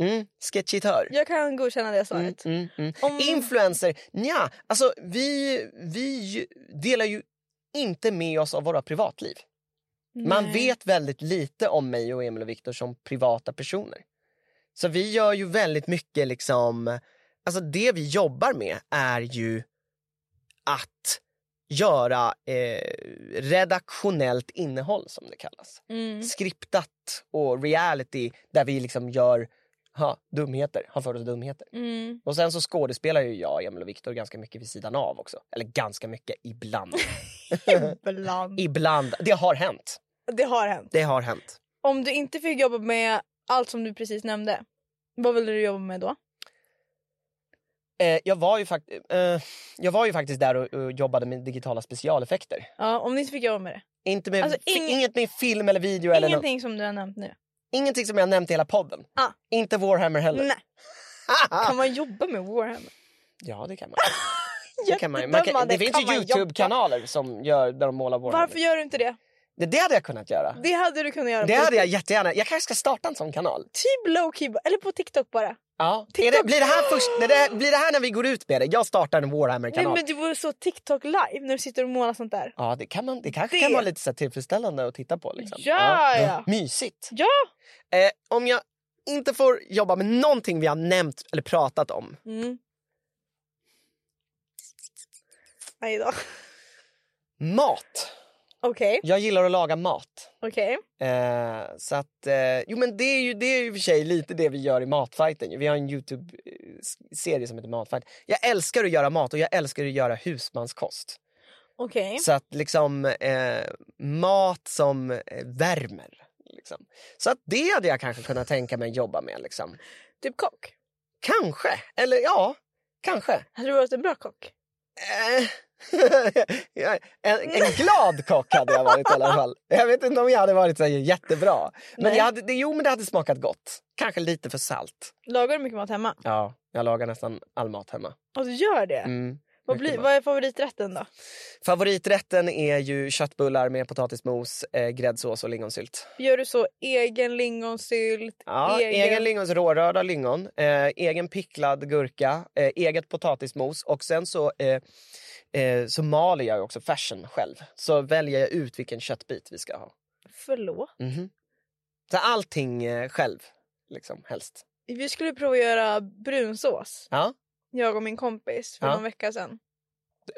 Mm, sketchitör. Jag kan godkänna det Mm, svaret. mm, mm. Om- Influencer, nja, alltså vi, vi ju- delar ju inte med oss av våra privatliv. Man Nej. vet väldigt lite om mig och Emil och Viktor som privata personer. Så vi gör ju väldigt mycket liksom, alltså det vi jobbar med är ju att göra eh, redaktionellt innehåll som det kallas. Mm. Skriptat och reality där vi liksom gör ha, dumheter, har för oss dumheter. Mm. Och sen så skådespelar ju jag, Emil och Viktor ganska mycket vid sidan av också. Eller ganska mycket, ibland. Ibland. ibland. Det har hänt. Det har hänt. Det har hänt. Om du inte fick jobba med allt som du precis nämnde, vad ville du jobba med då? Eh, jag, var ju fakt- eh, jag var ju faktiskt där och, och jobbade med digitala specialeffekter. Ja, om ni inte fick jobba med det. Inte med, Alltså, fi- ing- inget med film eller video. Eller no- Ingenting som du har nämnt nu. ingenting som jag nämnt i hela podden. Ah. Mm. Inte Warhammer heller. Nej. Ah. Kan man jobba med Warhammer? Ja, det kan man. Det, kan man. ju. man kan, det Jättedömande, finns ju kan man jobba? Youtube-kanaler som gör, där de målar Warhammer. Varför gör du inte det? Det, det hade jag kunnat göra. Det hade du kunnat göra. Det på hade jag jättegärna. Jag kanske ska starta en sån kanal. Typ lowkey, eller på TikTok bara. Ja. Är det, blir, det här först, nej, det, här- blir det här när vi går ut med det? Jag startar en Nej Warhammer-kanal. men det vore så TikTok live när du sitter och målar sånt där. Ja, det, kan man, det kanske Det- kan vara lite så här tillfredsställande att titta på. Liksom. Ja, ja. Mysigt. Ja! Eh, om jag inte får jobba med någonting vi har nämnt eller pratat om. Mm. Nej då. Mat. Okej, Jag gillar att laga mat. okej. Eh, så att, eh, jo men det är ju det är ju i och för sig lite det vi gör i Matfighten. ju. Vi har en Youtube-serie som heter Matfighten. Jag älskar att göra mat och jag älskar att göra husmanskost. Okej. Så att liksom eh, mat som eh, värmer. Liksom. Så att det hade jag kanske kunnat tänka mig jobba med. Liksom. Typ kock. Kanske, eller ja, kanske. Hade du varit en bra kock? Eh, jag- en, en glad kock hade jag varit i alla fall. Jag vet inte om jag hade varit så här jättebra. Men Nej. jag hade, det, jo, men det hade smakat gott. Kanske lite för salt. Lagar du mycket mat hemma? Ja, jag lagar nästan all mat hemma. Och du gör det? Mm. vad, mycket blir, mat. vad är favoriträtten då? Favoriträtten är ju köttbullar med potatismos, eh, gräddsås och lingonsylt. Gör du så egen lingonsylt? Ja, egen, lingons, rårörda lingon, eh, egen picklad gurka, eh, eget potatismos och sen så, eh, eh, så maler jag ju också färsen själv. Så väljer jag ut vilken köttbit vi ska ha. Förlåt? Mhm. Så allting eh, själv, liksom helst. Vi skulle prova att göra brunsås, Ja, jag och min kompis, för Ja. någon vecka sedan.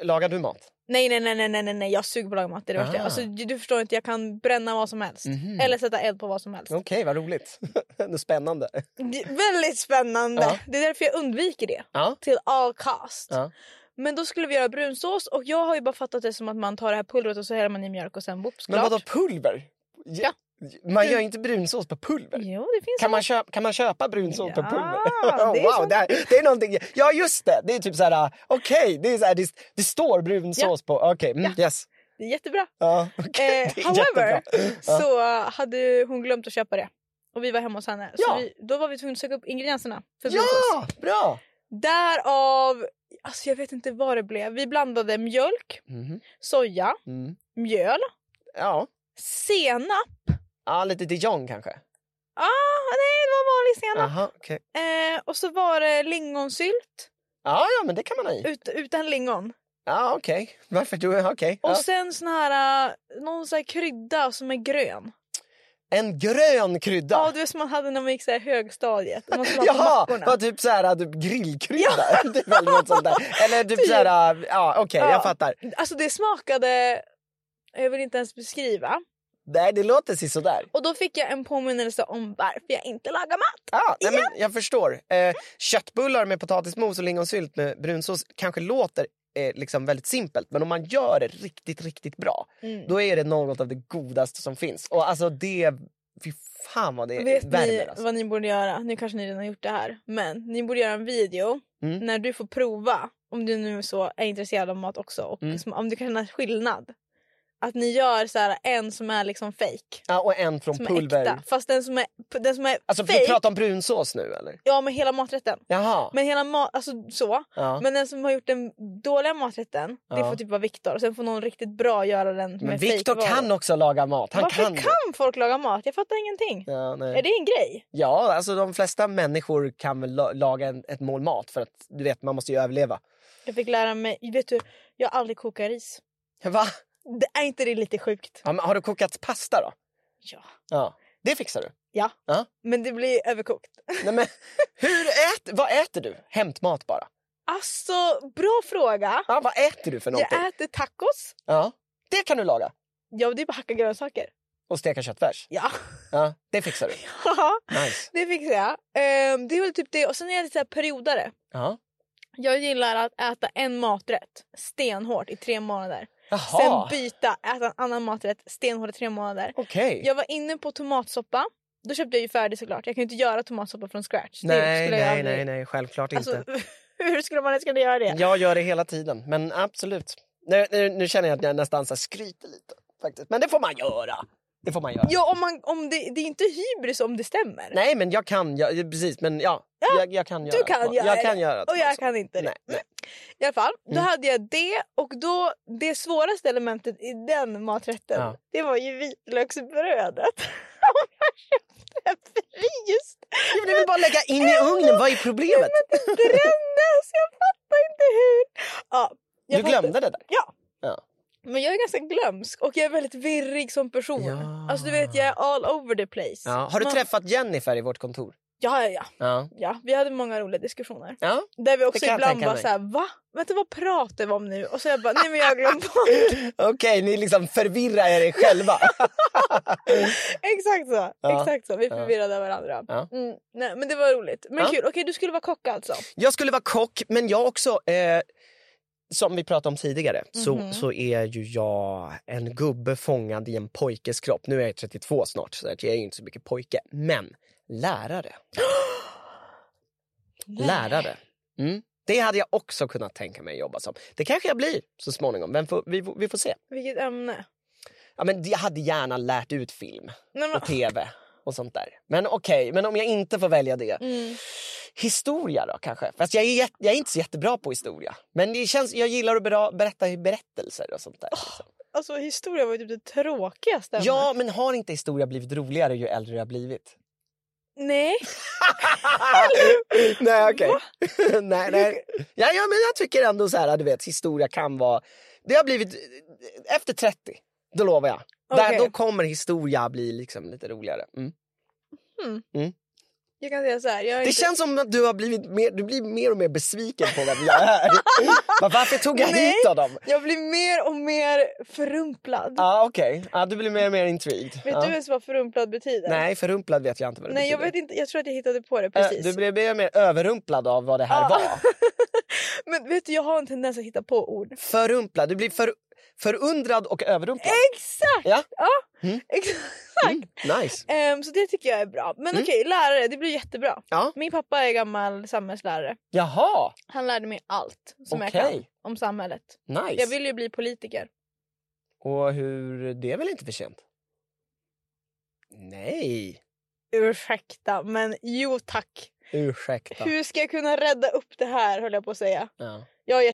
Lagar du mat? Nej, nej, nej, nej, nej, nej, nej. jag suger på att laga mat. Det är det värsta. Ah. Alltså, du, du förstår inte, jag kan bränna vad som helst. Mhm. Eller sätta eld på vad som helst. Okej, vad roligt. Ändå spännande. Det är väldigt spännande. Ja. Det är därför jag undviker det. Ja. Till all cost. Ja. Men då skulle vi göra brunsås och jag har ju bara fattat det som att man tar det här pulvret och så häller man i mjölk och sen whoops, Men klart. vadå pulver? Ja. Man gör inte brunsås på pulver. Jo, det finns Kan man, köpa, kan man köpa brunsås på Ja, pulver? det är Oh, wow, som- det, här, det är någonting. Ja, just det. Det är typ så här, okej, det, är så här, det, det står brunsås på. Okej, mm, yes. Det är jättebra. Ja, okej, Eh, det är however, jättebra. Ja. så hade hon glömt att köpa det. Och vi var hemma hos henne. Så Ja. vi, då var vi tvungna att söka upp ingredienserna för brunsås. Ja, bra! Därav, alltså jag vet inte vad det blev. Vi blandade mjölk, Mhm, soja, Mm. mjöl, Ja. senap. ja, lite dijon kanske. Ah, nej, det var vanlig senap. Aha, okej. Eh, och så var det lingonsylt Ja, ja, men det kan man ha i. ut, utan lingon. Ja, okej. Varför du? Okej. Och Ja. sen sån här, eh, någon sån här krydda som är grön. En grön krydda. Ja, du vet som man hade när man gick så här högstadiet. Man skulle ha på Jaha, mackorna. vad typ såhär typ grillkrydda? typ eller något sånt där. Eller typ, såhär, ja okej Ja. jag fattar. Alltså det smakade... Jag vill inte ens beskriva. Nej det låter sig sådär. Och då fick jag en påminnelse om varför jag inte lagar mat. Ah, nej, men jag förstår. Eh, köttbullar med potatismos och lingonsylt med brunsås kanske låter eh, liksom väldigt simpelt men om man gör det riktigt, riktigt bra då är det något av det godaste som finns. Och alltså det, fy fan vad det Vet värmer. ni alltså. vad ni borde göra? Nu kanske ni redan har gjort det här. Men ni borde göra en video Mm. när du får prova. Om du nu så är intresserad av mat också. Och Mm. som, om du kan känna skillnad. Att ni gör så här, en som är liksom fake. Ja, och en från Som pulver. är äkta. Fast den som är, den som är Alltså fake. du pratar om brunsås nu eller? Ja med hela maträtten. Jaha. Men hela mat, alltså så. ja. Men den som har gjort den dåliga maträtten, det Ja. får typ vara Viktor. Och sen får någon riktigt bra göra den med men Viktor fejkvaror. kan också laga mat. Han Varför kan. kan, det. folk laga mat? Jag fattar ingenting. Ja, nej. Är det en grej? Ja, alltså de flesta människor kan väl la- laga en, ett mål mat för att du vet, man måste ju överleva. Jag fick lära mig, vet du, jag har aldrig kokat ris. Va? Det, är inte det lite sjukt? Ja, men har du kokat pasta då? Ja. Ja, det fixar du. Men det blir överkokt. Nej, men, hur ät, vad äter du? Hämtmat bara. Alltså, bra fråga. Ja, vad äter du för någonting? Jag äter tacos. Ja, det kan du laga. Ja, det är bara hacka grönsaker. Och steka köttfärs. Ja, Ja, det fixar du. Nice. det fixar jag. Ehm, det är väl typ det. Och sen är jag lite så här periodare. Ja. Jag gillar att äta en maträtt stenhårt i tre månader. Sen Jaha, byta, äta en annan maträtt stenhårt i tre månader. okej. Jag var inne på tomatsoppa. Då köpte jag ju färdig såklart. Jag kan ju inte göra tomatsoppa från scratch. Det Nej, skulle jag nej, aldrig- nej, nej, självklart Alltså, inte. hur skulle man ens kunna göra det? Jag gör det hela tiden, men absolut. Nu, nu, nu känner jag att jag nästan så här skryter lite. Faktiskt. Men det får man göra. Det får man göra. Ja, om man, om det, det är inte hybris om det stämmer. Nej, men jag kan. Jag, precis, men ja. Jag, jag kan göra. du kan det. göra jag det. kan göra det Och jag också. kan inte det. Nej, nej. I alla fall, då Mm. hade jag det och då det svåraste elementet i den maträtten Ja. det var ju vitlöksbrödet. Och jag köpte fryst. Ja, men det är väl bara att lägga in i ugnen. Vad är problemet? Brändes! Jag fattar inte hur. Ja, jag Du fattar- glömde det där. Men jag är ganska glömsk och jag är väldigt virrig som person. Ja. Alltså du vet jag är all over the place. Ja. Har du Man- träffat Jennifer i vårt kontor? Ja, ja, ja, Ja. ja. Vi hade många roliga diskussioner. ja. Där vi också kan jag ibland tänka bara mig. såhär va? Vänta vad pratar vi om nu? Och så jag bara nej men jag har glömt bort. Okej, ni liksom förvirrar er själva. exakt så. Ja. Exakt så. Vi Ja. förvirrade varandra. Ja. Mm, nej, men det var roligt. Men Ja. kul. Okej du skulle vara kock alltså. jag skulle vara kock, men jag också... Eh, som vi pratade om tidigare Mhm. så, så är ju jag en gubbe fångad i en pojkes kropp. Nu är jag 32 snart, så att jag är ju inte så mycket pojke. Men lärare. lärare. Mm. Det hade jag också kunnat tänka mig att jobba som. Det kanske jag blir så småningom. Men får, vi, får- vi får se. Vilket ämne. Ja, men jag hade gärna lärt ut film Nej, men, och tv och sånt där. Men okej, men om jag inte får välja det. mm. Historia då kanske? Fast jag är, jätte- jag är inte så jättebra på historia. Men det känns, jag gillar att bera, berätta berättelser och sånt där. liksom. Alltså historia var ju typ det tråkigaste ämnet. Ja, men har inte historia blivit roligare ju äldre jag blivit? Nej. nej okej. nej, nej. Ja, ja, men jag tycker ändå så här, du vet, historia kan vara... Det har blivit... Efter 30, då lovar jag. Där, Okej. då kommer historia bli liksom lite roligare. Mm. Hmm. Mm. Jag kan säga så här. Jag är Det inte... känns som att du har blivit mer, du blir mer och mer besviken på vem jag är. Men varför tog jag Nej. hit honom? Jag blir mer och mer förrumplad. Ja ah, okej, ah, du blir mer och mer intrigued. Vet Ja. du ens vad förrumplad betyder? Nej förrumplad vet jag inte vad det Nej jag betyder. vet inte, jag tror att jag hittade på det Eh, precis. Ah. Du blev mer och mer överrumplad av vad det här Ja. var. Men vet du jag har en tendens att hitta på ord. Förrumplad, du blir för, förundrad och överrumplad. Exakt! Ja. Mm. ja exakt. Mm, nice. Ehm, så det tycker jag är bra. Men Mm. okej, lärare, det blir jättebra. Ja. Min pappa är gammal samhällslärare. Jaha, Han lärde mig allt som jag kan okej. om samhället. Nice. Jag vill ju bli politiker. Och hur, det är väl inte för sent? Nej, Ursäkta, men jo tack. ursäkta. Hur ska jag kunna rädda upp det här höll jag på att säga. Ja. Jag är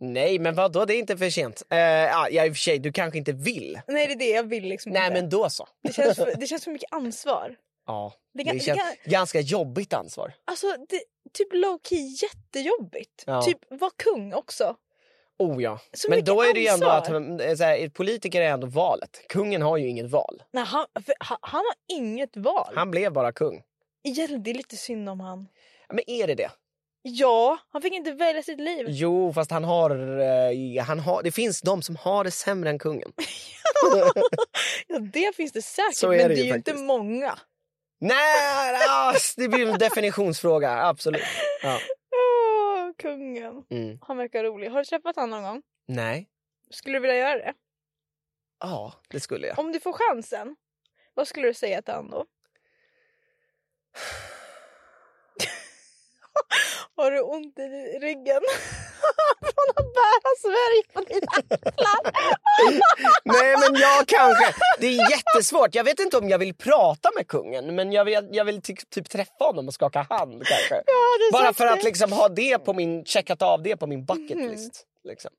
Nej, men vad då? det är inte för sent. Eh, ja, ja, i och för sig, du kanske inte vill. Nej det är det, jag vill liksom Nej, inte. men då så. Det, känns för, det känns för mycket ansvar. Ja, Det det, kan- det känns kan- ganska jobbigt ansvar. Alltså det, typ low key jättejobbigt. Ja. Typ var kung också. Oh ja. Så men mycket då är det ju ändå att ansvar. eh, så här, politiker är ändå valet. Kungen har ju inget val. Nej, han, för, han, han har inget val. Han blev bara kung. Igen, det är lite synd om han. Men är det det? Ja, han fick inte välja sitt liv. Jo, fast han har, eh, han har... Det finns de som har det sämre än kungen. Ja, det finns det säkert, Så är men det det är ju ju inte faktiskt. många. Nej, ass, det blir en definitionsfråga. Absolut. Ja. Åh, kungen. Mm. Han verkar rolig. Har du träffat honom någon gång? Nej. Skulle du vilja göra det? Ja, det skulle jag. Om du får chansen, vad skulle du säga till honom då? Har du ont i ryggen? Från att bära Sverige på dina axlar? Nej, men jag kanske. Det är jättesvårt. Jag vet inte om jag vill prata med kungen, men jag vill, jag vill ty- typ träffa honom och skaka hand kanske. Ja, du Bara sagt för det. att liksom ha det på min, checkat av det på min bucket Mhm. list. Liksom.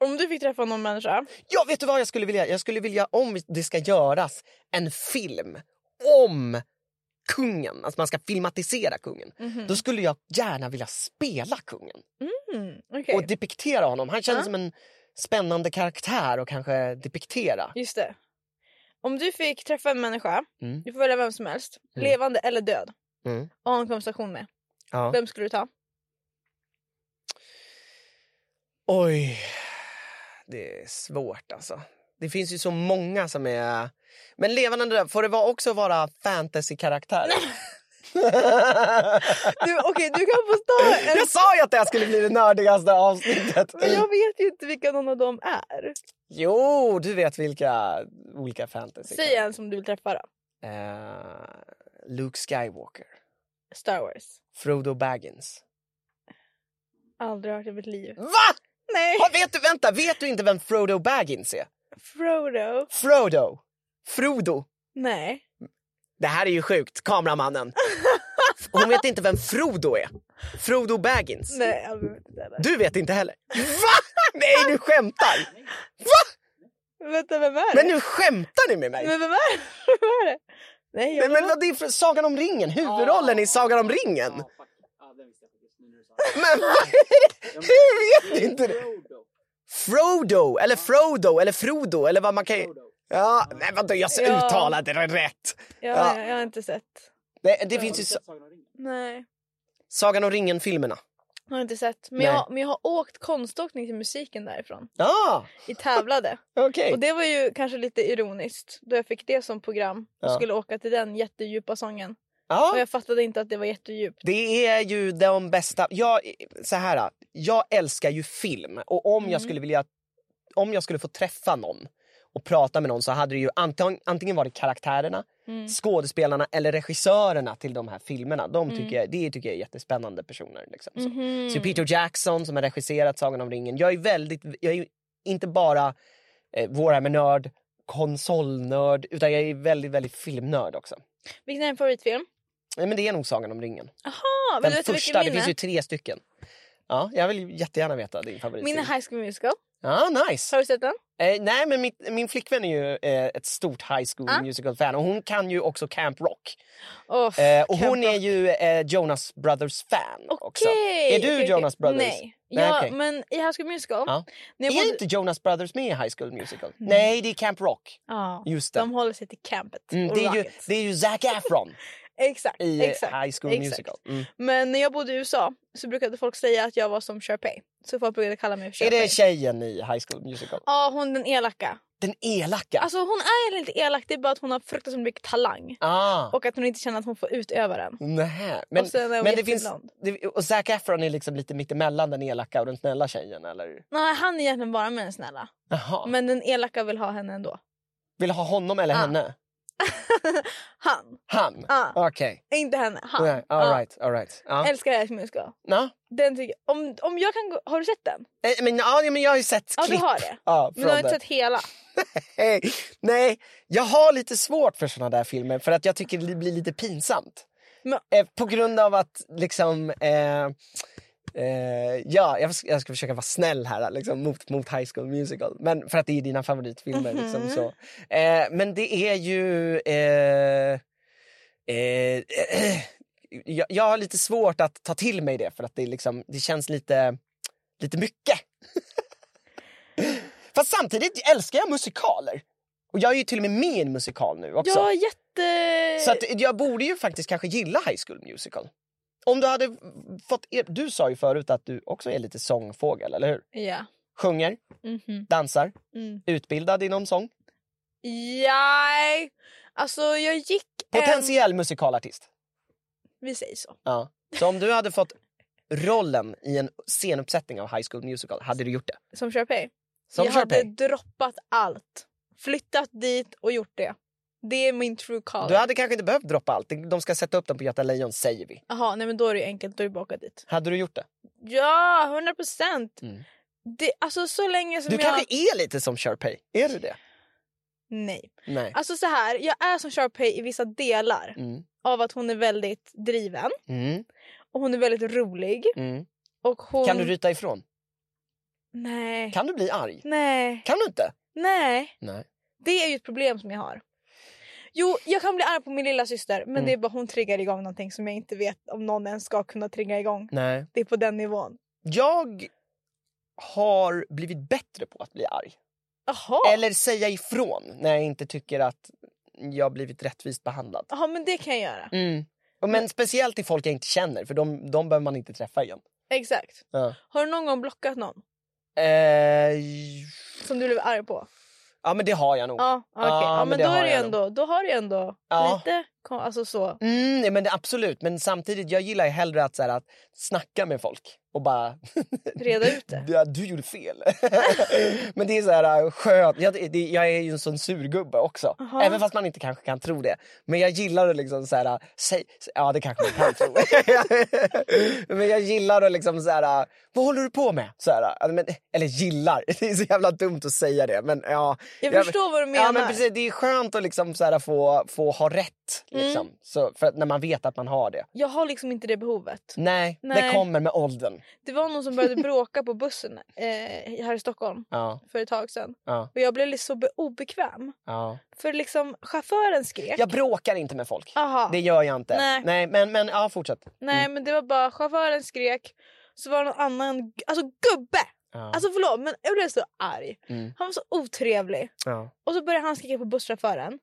Om du fick träffa någon människa, Ja, vet du vad jag skulle vilja? Jag skulle vilja, om det ska göras en film om kungen, alltså man ska filmatisera kungen, Mhm. då skulle jag gärna vilja spela kungen mm, okej. och depiktera honom. Han känns Ja. som en spännande karaktär och kanske depiktera. Just det. Om du fick träffa en människa, Mm. du får välja vem som helst, Mm. levande eller död, Mm. och ha en konversation med. Ja. Vem skulle du ta? Oj, det är svårt alltså. Det finns ju så många som är... Men levande död, får det vara- också vara fantasy-karaktär? Du, Okej, du kan få ta en... jag sa ju att det här skulle bli det nördigaste avsnittet! Men jag vet ju inte vilka någon av dem är. Jo, du vet vilka olika fantasy... Säg en som du vill träffa då. Eh, Luke Skywalker, Star Wars. Frodo Baggins. Aldrig hört i mitt liv. Va? Nej! Ja, vet du, vänta, vet du inte vem Frodo Baggins är? Frodo. Frodo! Frodo! Nej. Det här är ju sjukt, kameramannen. Hon vet inte vem Frodo är. Frodo Baggins. Nej, jag vet inte heller. Du vet inte heller. Va? Nej, du skämtar! Va? Vänta, vem är det? Men nu skämtar ni med mig? Men vem är det? Vem är det? Nej, jag Men, men vad det är för Sagan om ringen? Huvudrollen i Sagan om ringen? Men vad är det? Hur vet ni inte det? Frodo, eller Frodo, eller Frodo, eller vad man kan... Ja, nej vadå, jag Ja. uttalade det rätt! jag, Ja. jag, jag har inte sett. Det, det finns ju Sa- Nej. Sagan om ringen-filmerna. Jag har inte sett. Men Nej. jag, men jag har åkt konståkning till musiken därifrån. Ja, ah, I tävlade. okej. Och det var ju kanske lite ironiskt då jag fick det som program och Ja. skulle åka till den jättedjupa sången. Ja. Och jag fattade inte att det var jättedjupt. Det är ju de bästa. Jag, så här, jag älskar ju film och om, Mm. jag skulle vilja, om jag skulle få träffa någon och prata med någon så hade det ju antag, antingen varit karaktärerna, Mm. skådespelarna eller regissörerna till de här filmerna. De tycker Mm. jag, det tycker jag är jättespännande personer. Liksom, så. Mhm. så Peter Jackson som har regisserat Sagan om ringen. Jag är väldigt, jag är ju inte bara eh, vår med nörd, konsolnörd utan jag är väldigt, väldigt filmnörd också. Vilken är din favoritfilm? Nej, men det är nog Sagan om ringen. Jaha, vill Den du veta första, vilken det min finns ju är? tre stycken. Ja, jag vill jättegärna veta din favorit. Min är High School Musical. Ja, nice. Har du sett den? Eh, nej, men mitt, min flickvän är ju eh, ett stort High School Ah. Musical-fan och hon kan ju också Camp Rock. Åh, Eh, och hon är Camp Rock. ju eh, Jonas Brothers-fan också. Okej, Är du okej, Jonas okej. Brothers? Nej, Nej, ja, okej. men i High School Musical. Ja. När jag Är bodde... inte Jonas Brothers med i High School Musical? Nej, det är Camp Rock. ja, Just det. de håller sig till campet. Mm, och det, är ju, rocket. det är ju Zac Efron Exakt, i eh, exakt. High School exakt. Musical. Mm. Men när jag bodde i USA så brukade folk säga att jag var som Sharpay. Så folk brukade kalla mig för Är Sharpay. det tjejen i High School Musical? Ja, hon den elaka. Den elaka? Alltså hon är egentligen inte elak, det är bara att hon har fruktansvärt mycket talang. ah. Och att hon inte känner att hon får utöva den. Nähä. Men, och sen är hon men det finns, jätteblond. det, och Zac Efron är liksom lite mittemellan den elaka och den snälla tjejen eller? Nej, han är egentligen bara med den snälla. Jaha. Men den elaka vill ha henne ändå. Vill du ha honom eller Mm. Ah. henne? han. Han? Ja, Okej. Inte henne, han. Nej, All right, Ah. all right. Ja. Ja. Älskar High School Musical. Ja. Den tycker, om, om jag kan gå, har du sett den? Eh, Men, ja, men jag har ju sett Ja, du klipp. har det. Ja, Men du har från inte det. sett hela. Hej. Nej, jag har lite svårt för såna där filmer för att jag tycker det blir lite pinsamt. Men- Eh, på grund av att liksom... Eh, eh, ja, jag, ska- jag ska försöka vara snäll här liksom, mot, mot High School Musical. Men för att det är dina favoritfilmer. Liksom, Mhm. så. Eh, men det är ju... Eh, eh, jag, jag har lite svårt att ta till mig det för att det, liksom, det känns lite, lite mycket. Fast samtidigt älskar jag musikaler. Och jag är ju till och med med i en musikal nu också. Jag är jätte... Så att jag borde ju faktiskt kanske gilla High School Musical. Om du hade fått... Er... Du sa ju förut att du också är lite sångfågel, eller hur? Ja. Sjunger, Mhm. dansar, Mm. utbildad i någon sång. Jaj. Alltså jag gick en... Potentiell musikalartist. Vi säger så. Ja. Så om du hade fått rollen i en scenuppsättning av High School Musical, hade du gjort det? Som Sharpay. Som jag Sharpay. hade droppat allt. Flyttat dit och gjort det. Det är min true call. Du hade kanske inte behövt droppa allt. De ska sätta upp dem på Göta Lejon, säger vi. Jaha, nej men då är det ju enkelt. Då är det bara att åka dit. Hade du gjort det? Ja, 100 procent. Mm. Alltså så länge Du som jag... kanske är lite som Sharpay. Är du det? Nej. Nej. Alltså så här, jag är som Sharpay i vissa delar. Mm. Av att hon är väldigt driven. Mm. Och hon är väldigt rolig. Mm. Och hon... Kan du ryta ifrån? Nej. Kan du bli arg? Nej. Kan du inte? Nej. Nej. Det är ju ett problem som jag har. Jo, jag kan bli arg på min lilla syster men Mm. det är bara hon triggar igång någonting som jag inte vet om någon ens ska kunna trigga igång. Nej. Det är på den nivån. Jag har blivit bättre på att bli arg. Jaha, Eller säga ifrån när jag inte tycker att jag har blivit rättvist behandlad. Jaha men det kan jag göra. Mm. Och Men speciellt till folk jag inte känner, för de, de behöver man inte träffa igen. Exakt. Ja. Har du någon gång blockat någon Eh, som du blev arg på? ja, men det har jag nog. Ja, okej. Ja, Ja, men men det då, har är det ju jag nog. ändå, då har du ju ändå Ja. lite... Kom, alltså så. Mm, nej, men det, absolut, men samtidigt jag gillar ju hellre att, så här, att snacka med folk och bara... Reda ut det. Ja, du gjorde fel. men det är så här äh, skönt. Jag, det, jag är ju en sån surgubbe också. Aha. Även fast man inte kanske kan tro det. Men jag gillar att liksom så här... Säg, sä- ja, det kanske man kan tro. men jag gillar att liksom så här... Vad håller du på med? Så här, ja, men, eller gillar. Det är så jävla dumt att säga det. Men ja, Jag Ja, men- förstår vad du menar. ja men precis. Det är skönt att liksom så här, få, få ha rätt. Mm. Liksom. Så, för att när man vet att man har det. Jag har liksom inte det behovet. Nej, det Nej. kommer med åldern. Det var någon som började bråka på bussen eh, här i Stockholm Ja, för ett tag sedan. ja, Och jag blev liksom så be- obekväm. ja. För liksom chauffören skrek. Jag bråkar inte med folk. Aha. Det mm. gör jag inte. Nej. Nej. men, men ja, fortsätt. Nej men det var bara chauffören skrek. Så var det någon annan, alltså gubbe! Ja. Alltså förlåt men jag blev så arg. Mm. Han var så otrevlig. ja. Och så började han skrika på busschauffören.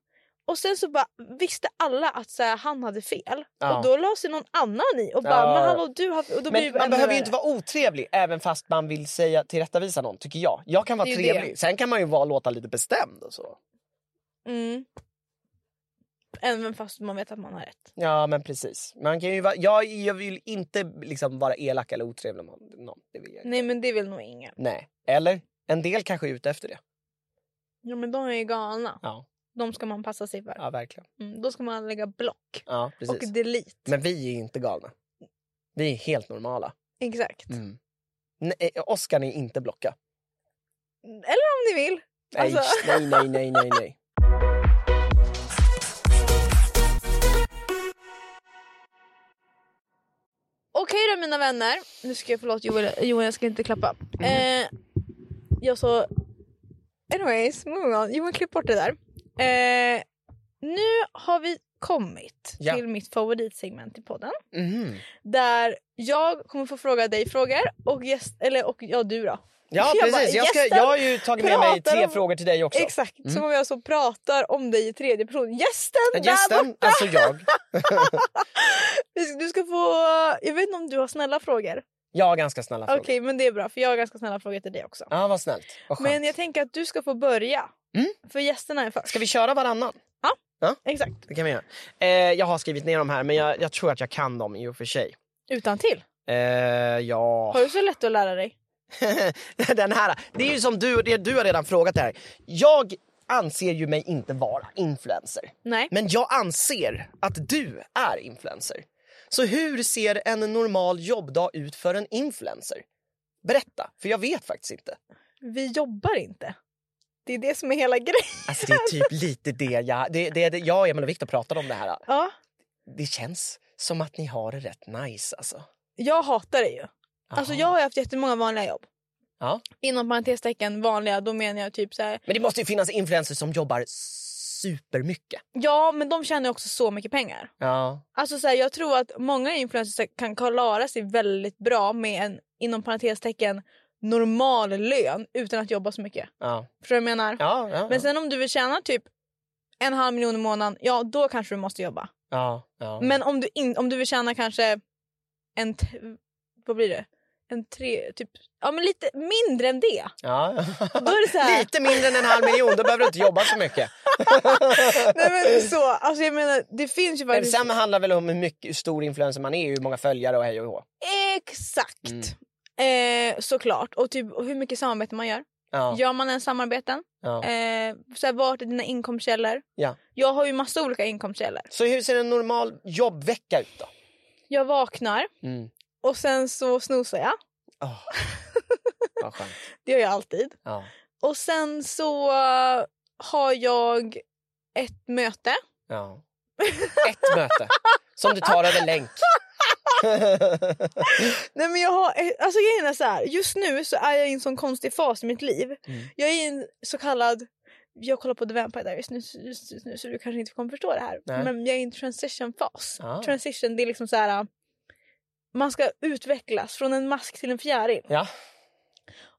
Och sen så bara visste alla att så här, han hade fel. Ja. Och då la sig någon annan i och bara Ja, men ja. hallå du har fel." och då blir Men det man ännu behöver ju värre. inte vara otrevlig även fast man vill säga tillrättavisa någon, tycker jag. Jag kan vara Det är ju trevlig. Sen kan man ju vara, låta lite bestämd och så. Mm. Även fast man vet att man har rätt. Ja, men precis. Man kan ju vara, jag, jag vill inte liksom vara elak eller otrevlig mot någon. Det vill jag. inte. Nej men det vill nog ingen. Nej. Eller? En del kanske är ute efter det. Ja men de är ju galna. Ja, De ska man passa sig för. ja verkligen. Mm, då ska man lägga block Ja, precis. och delete. Men vi är inte galna. Vi är helt normala. Exakt. Mm. Nej, Oskar är inte blocka. Eller om ni vill. Mm. Nej, Alltså- nej, nej, nej, nej, nej. mina vänner, nu ska jag förlåt Joel, Joel jag ska inte klappa. Mm. Eh, jag så... Anyways, moving on. Joel klipp bort det där. Eh, nu har vi kommit Ja. till mitt favoritsegment i podden. Mhm. Där jag kommer få fråga dig frågor och gäst, eller och ja du då. Ja, Jag bara, precis. Jag, ska, gästen jag har ju tagit med mig pratar tre om- frågor till dig också. Exakt, Mm. som om jag så pratar om dig i tredje person. Gästen där Gästen, alltså jag. Vi ska- Du ska få... Jag vet inte om du har snälla frågor. Jag har ganska snälla Okej, frågor. men det är bra för jag har ganska snälla frågor till dig också. Ja, vad snällt. Vad skönt. Men jag tänker att du ska få börja. Mm. För gästerna är först. Ska vi köra varannan? Exakt. Det kan vi göra. Eh, jag har skrivit ner dem här, men jag, jag tror att jag kan dem i och för sig. Utan till. Eh, ja... Har du så lätt att lära dig? Den här. Det är ju som du, det du har redan frågat det här. Jag anser ju mig inte vara influencer. Nej. Men jag anser att du är influencer. Så hur ser en normal jobbdag ut för en influencer? Berätta, för jag vet faktiskt inte. Mm. Vi jobbar inte. Det är det som är hela grejen. Alltså det är typ lite det jag... Det, det, det, jag, Emil och Viktor pratade om det här. Ja. Det känns som att ni har det rätt nice alltså. Jag hatar det ju. Alltså Aha. jag har ju haft jättemånga vanliga jobb. Ja. Inom parentestecken vanliga, då menar jag typ så här. Men det måste ju finnas influencers som jobbar supermycket. Ja, men de tjänar ju också så mycket pengar. Ja. Alltså så här, jag tror att många influencers kan klara sig väldigt bra med en inom parentestecken normal lön utan att jobba så mycket. Ja. Förstår du vad jag menar? Ja, ja, ja. Men sen om du vill tjäna typ en halv miljon i månaden, ja då kanske du måste jobba. ja, ja. Men om du, in, om du vill tjäna kanske en, t- vad blir det? En tre, typ, ja men lite mindre än det. Ja. Då är det så här- Lite mindre än en halv miljon, då behöver du inte jobba så mycket. Nej men så, alltså jag menar det finns ju Men faktiskt. sen handlar väl om hur, mycket, hur stor influencer man är, hur många följare och hej och hå. Exakt! Eh, såklart. Och typ och hur mycket samarbete man gör. Ja, Gör man ens samarbeten? ja. Eh, så här, vart är dina inkomstkällor? Ja. Jag har ju massa olika inkomstkällor. Så hur ser en normal jobbvecka ut då? Jag vaknar Mm. och sen så snosar jag. Oh. Vad skönt. Det gör jag alltid. Ja. Och sen så eh, har jag ett möte. Ja. Ett möte som du tar över länk. Nej men jag har, eh, alltså grejen är så här. just nu så är jag i en sån konstig fas i mitt liv. Mm. Jag är i en så kallad, jag kollar på The Vampire Diaries just, just, just nu så du kanske inte kommer förstå det här. Nej. Men jag är i en transition fas. Ah. Transition det är liksom så här. eh, man ska utvecklas från en mask till en fjäril. ja.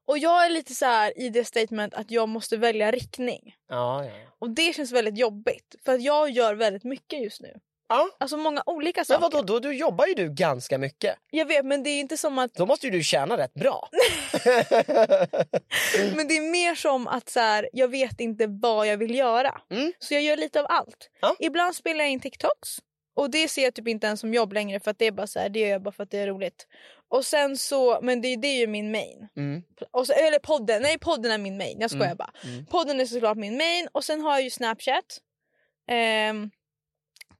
Och jag är lite så här i det statement att jag måste välja riktning. Ja, ja. Och det känns väldigt jobbigt för att jag gör väldigt mycket just nu. ja. Alltså många olika Men saker. vadå, då, då jobbar ju du ganska mycket. Jag vet men det är inte som att Då måste ju du tjäna rätt bra. Mm. men det är mer som att så här, jag vet inte vad jag vill göra. Mm. Så jag gör lite av allt. Ja. Ibland spelar jag in TikToks och det ser jag typ inte ens som jobb längre för att det är bara så här, det gör jag bara för att det är roligt. Och sen så, men det, det är ju min main. Mm. Och så, eller podden, nej podden är min main. Jag skojar bara. Mm. Podden är såklart min main och sen har jag ju Snapchat. Ehm,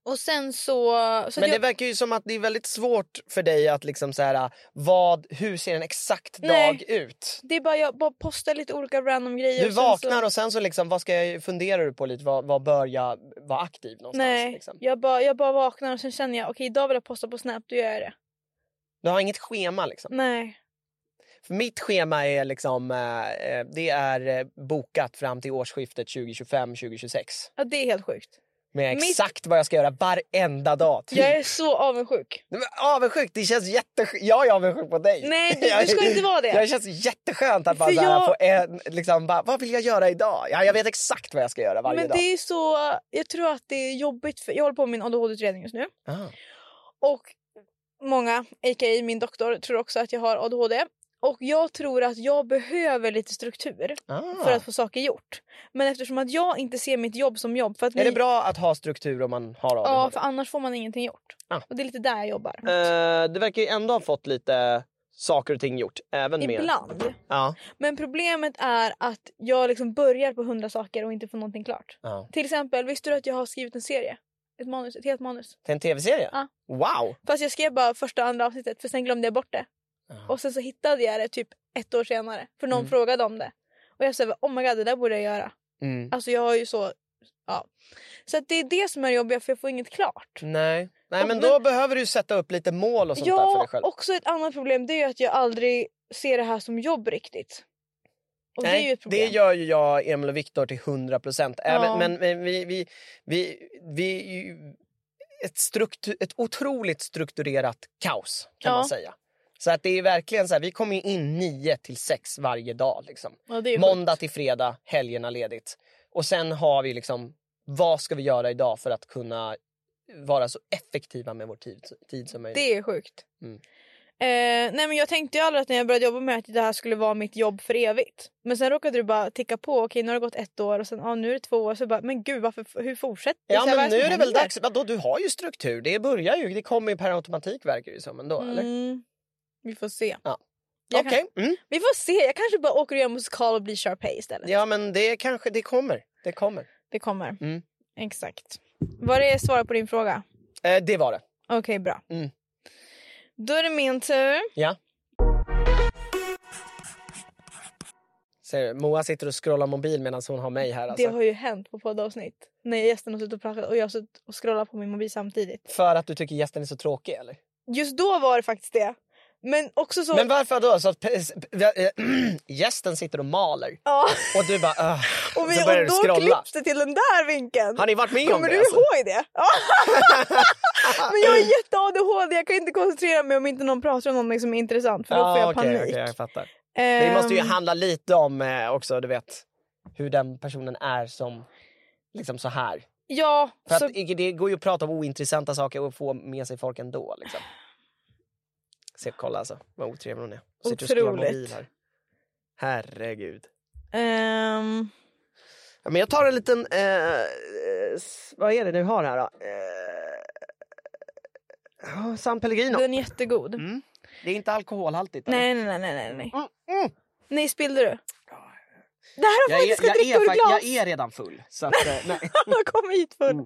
och sen så... så att Men det jag, verkar ju som att det är väldigt svårt för dig att liksom så här, vad, hur ser en exakt dag Nej. ut? det är bara jag bara postar lite olika random grejer. Du och sen vaknar så, och sen så liksom, vad ska jag fundera du på lite? Vad, vad bör jag vara aktiv någonstans? Nej, Liksom? jag, bara, jag bara vaknar och sen känner jag okej idag vill jag posta på Snap, då gör jag det. Du har inget schema liksom? Nej. För mitt schema är liksom, eh, eh, det är eh, bokat fram till årsskiftet 2025-2026. Ja, det är helt sjukt. Med Mitt- exakt vad jag ska göra varenda dag. Typ. Jag är så avundsjuk. Nej, men Avundsjuk, det känns jätteskönt. Jag är avundsjuk på dig. Nej, du, Jag- du ska inte vara det. Jag känns jätteskönt att bara, För såhär, jag- få en, liksom, bara vad vill jag göra idag? Ja, jag vet exakt vad jag ska göra varje Men dag. det är så... Jag tror att det är jobbigt. För, jag håller på med min ADHD-utredning just nu. Ah. Och många, a.k.a. min doktor, tror också att jag har ADHD. Och jag tror att jag behöver lite struktur Ah. för att få saker gjort. Men eftersom att jag inte ser mitt jobb som jobb... För att Är det ni- bra att ha struktur om man har ADHD? Ja, för annars får man ingenting gjort. Ah. Och det är lite där jag jobbar. Eh, det verkar ju ändå ha fått lite saker och ting gjort. Även med... Ibland. Ja. Men problemet är att jag liksom börjar på hundra saker och inte får någonting klart. ja. Till exempel, visste du att jag har skrivit en serie? Ett manus, ett helt manus. Till en tv-serie? Ja. Wow! Fast jag skrev bara första och andra avsnittet för sen glömde jag bort det. Och sen så hittade jag det typ ett år senare för någon Mm. frågade om det. Och jag sa oh my god det där borde jag göra. Mm. Alltså jag har ju så Ja. Så att det är det som är jobbigt för jag får inget klart. Nej. Nej Och- men då men- behöver du sätta upp lite mål Mm, och sånt där för Ja, dig själv. också ett annat problem det är ju att jag aldrig ser det här som jobb riktigt. Och det är Nej, ju ett problem. gör ju jag, Emil och Viktor till 100 procent. Ja. Men, men vi, vi, vi, vi är ju ett, struktu, ett otroligt strukturerat kaos kan Ja. man säga. Så att det är verkligen så här, vi kommer ju in 9 till 6 varje dag. Liksom. ja, det är sjukt. Måndag till fredag, helgerna ledigt. Och sen har vi liksom, vad ska vi göra idag för att kunna vara så effektiva med vår tid, tid som möjligt. Det är sjukt. Mm. Eh, nej men jag tänkte ju aldrig att när jag började jobba med att det här skulle vara mitt jobb för evigt. Men sen råkade du bara ticka på. Okej nu har det gått ett år och sen ah, nu är det två år. Så bara men gud varför, hur fortsätter det? Ja Så här, vad men nu som är det väl händer? dags, vadå du har ju struktur, det börjar ju, det kommer ju per automatik verkar det ju som ändå eller? Mm, vi får se. Ja. Jag kan, Okej, mm. vi får se. Jag kanske bara åker och gör musikal och blir Sharpay istället. ja men det kanske, det kommer. Det kommer. Det kommer. Mm. Exakt. Var det svar på din fråga? Eh, det var det. Okej, bra. Mm. Då är det min tur. Ja. Ser du, Moa sitter och scrollar mobil medan hon har mig här alltså. Det har ju hänt på poddavsnitt. När gästen har suttit och pratat och jag har suttit och scrollat på min mobil samtidigt. För att du tycker gästen är så tråkig eller? Just då var det faktiskt det. Men också så... Men varför då? Så att pe- s- pe- eh, gästen sitter och maler ja. och du bara "Ugh." och, vi, så börjar och du då scrolla. klipps det till den där vinkeln. Har ni varit med Kommer om det? du alltså? ihåg det? Ja. Men jag är jätte-ADHD. Jag kan inte koncentrera mig om inte någon pratar om någonting som är intressant. För då får Ja, Ah, jag Ah, okej, panik. okej, jag fattar. Det måste ju Ehm, handla lite om eh, också, du vet, hur den personen är som liksom så här. Ja, För så att i- det går ju att prata om ointressanta saker och få med sig folk ändå. Liksom. Se, kolla alltså, vad otrevlig hon är. Sitter och scrollar Otroligt. mobil här. Herregud. Ehm, Ja, men jag tar en liten, eh, eh, s- vad är det du har här då? Eh, ja, San Pellegrino. den är jättegod. Mm. Det är inte alkoholhaltigt. eller? Nej, nej, nej, nej, nej, nej. Mm, mm. Nej, spillde du? Det här har Jag, man är, inte ska jag, dricka är, ur fakt- glas. jag är redan full. Så att, eh, nej. Jag kom hit för. Mm.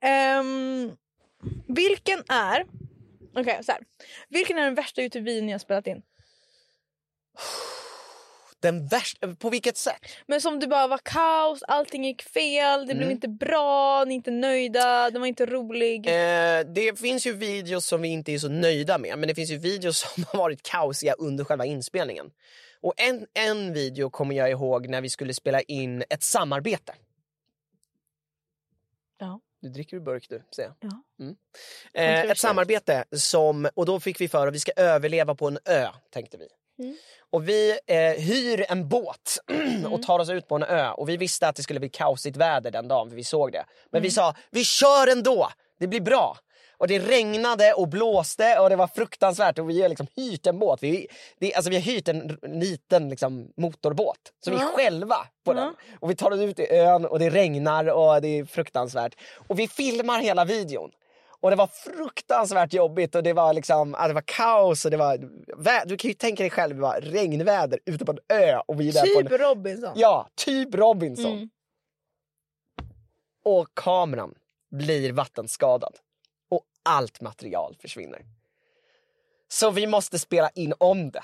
Ehm, vilken är... Okej, så här. Vilken är den värsta Youtube-videon jag spelat in? Den värsta, på vilket sätt? Men som du bara var kaos, allting gick fel, det blev Mm. inte bra, ni är inte nöjda, den var inte rolig. Eh, det finns ju videos som vi inte är så nöjda med men det finns ju videos som har varit kaosiga under själva inspelningen. Och en, en video kommer jag ihåg när vi skulle spela in ett samarbete. Ja. Du dricker ur burk du, ser jag. Ja. Mm. Eh, Kontroversiellt. ett samarbete som, och då fick vi för att vi ska överleva på en ö, tänkte vi. Mm. Och vi eh, hyr en båt Mm. och tar oss ut på en ö. Och vi visste att det skulle bli kaosigt väder den dagen, för vi såg det. Men Mm. vi sa, vi kör ändå! Det blir bra! Och det regnade och blåste och det var fruktansvärt. Och vi har liksom hyrt en båt. Vi, det, alltså vi har hyrt en r- liten liksom, motorbåt. Så vi är Ja. själva på Ja. den. Och vi tar oss ut i ön och det regnar och det är fruktansvärt. Och vi filmar hela videon. Och det var fruktansvärt jobbigt och det var liksom, ja, det var kaos och det var, vä- du kan ju tänka dig själv, det var regnväder ute på en ö och vi är där på typ en, Robinson. ja, typ Robinson. Mm. Och kameran blir vattenskadad och allt material försvinner. Så vi måste spela in om det.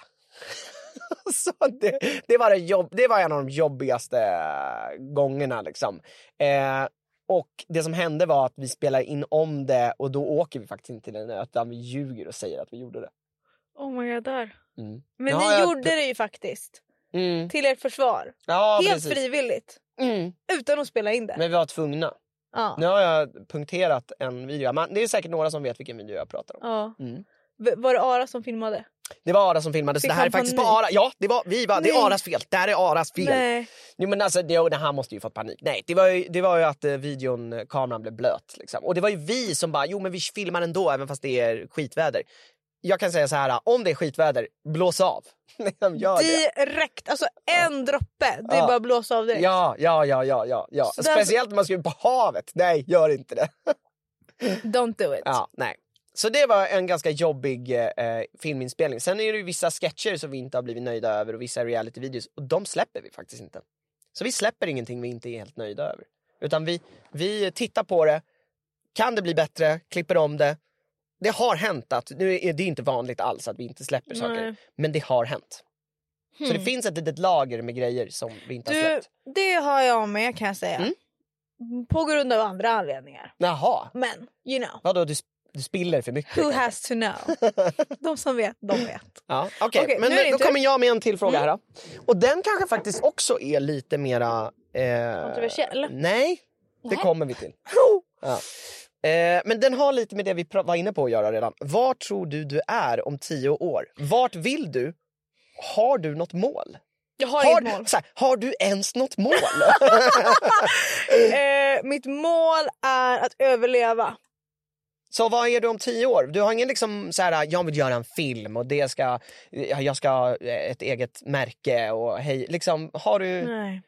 Så det, det, var det, jobb, det var en av de jobbigaste eh, gångerna. Liksom. Eh, och det som hände var att vi spelar in om det och då åker vi faktiskt inte till en ö utan vi ljuger och säger att vi gjorde det. Oh my god, där. Mm. Men Ja, ni jag- gjorde det ju faktiskt. Mm. Till ert försvar. Ja, Helt precis. frivilligt. Mm. Utan att spela in det. Men vi var tvungna. ja. Nu har jag punkterat en video. Man, det är säkert några som vet vilken video jag pratar om. Ja. Mm. V- Var det Ara som filmade? Det var Ara som filmade, så Fick det här han är faktiskt på panik? Ara. Ja, det, var, vi var, det Nej. är Aras fel. Det här är Aras fel. Nej. Jo, men alltså, det, det här måste ju fått panik. Nej, det var ju, det var ju att eh, videon, eh, kameran blev blöt. Liksom. Och det var ju vi som bara, jo men vi filmar ändå även fast det är skitväder. Jag kan säga så här, om det är skitväder, blås av. Liksom, Gör det. Direkt, alltså en droppe. Det är Ja. bara att blåsa av direkt. Ja, ja, ja, ja, ja. ja. Så där- Speciellt om man ska ut på havet. Nej, gör inte det. Don't do it. Ja, nej. Så det var en ganska jobbig eh, eh, filminspelning. Sen är det ju vissa sketcher som vi inte har blivit nöjda över och vissa realityvideos och de släpper vi faktiskt inte. Så vi släpper ingenting vi inte är helt nöjda över. Utan vi, vi tittar på det, kan det bli bättre, klipper om det. Det har hänt att, nu är det är inte vanligt alls att vi inte släpper Nej. saker, men det har hänt. Så det Hmm. finns ett litet lager med grejer som vi inte har Du, släppt. det har jag med kan jag säga. Alltså- Mm. På grund av andra anledningar. Jaha, Men, you know. vadå du, sp- du spiller för mycket? Who has to know? De som vet, de vet. Ja, Okej, Okej, men nu är då det din tur. Mm. kommer jag med en till fråga här. Då. Och den kanske faktiskt också är lite mera... Eh, Kontroversiell. Nej, det Nej. kommer vi till. Ja. Eh, men den har lite med det vi pra- var inne på att göra redan. Var tror du du är om tio år? Vart vill du? Har du något mål? Jag har, Har, inget mål. Så här, har du ens något mål? Eh, mitt mål är att överleva. så vad är du om tio år? Du har ingen liksom så här, jag vill göra en film och det ska, jag ska ha ett eget märke och hej, liksom har du? Nej,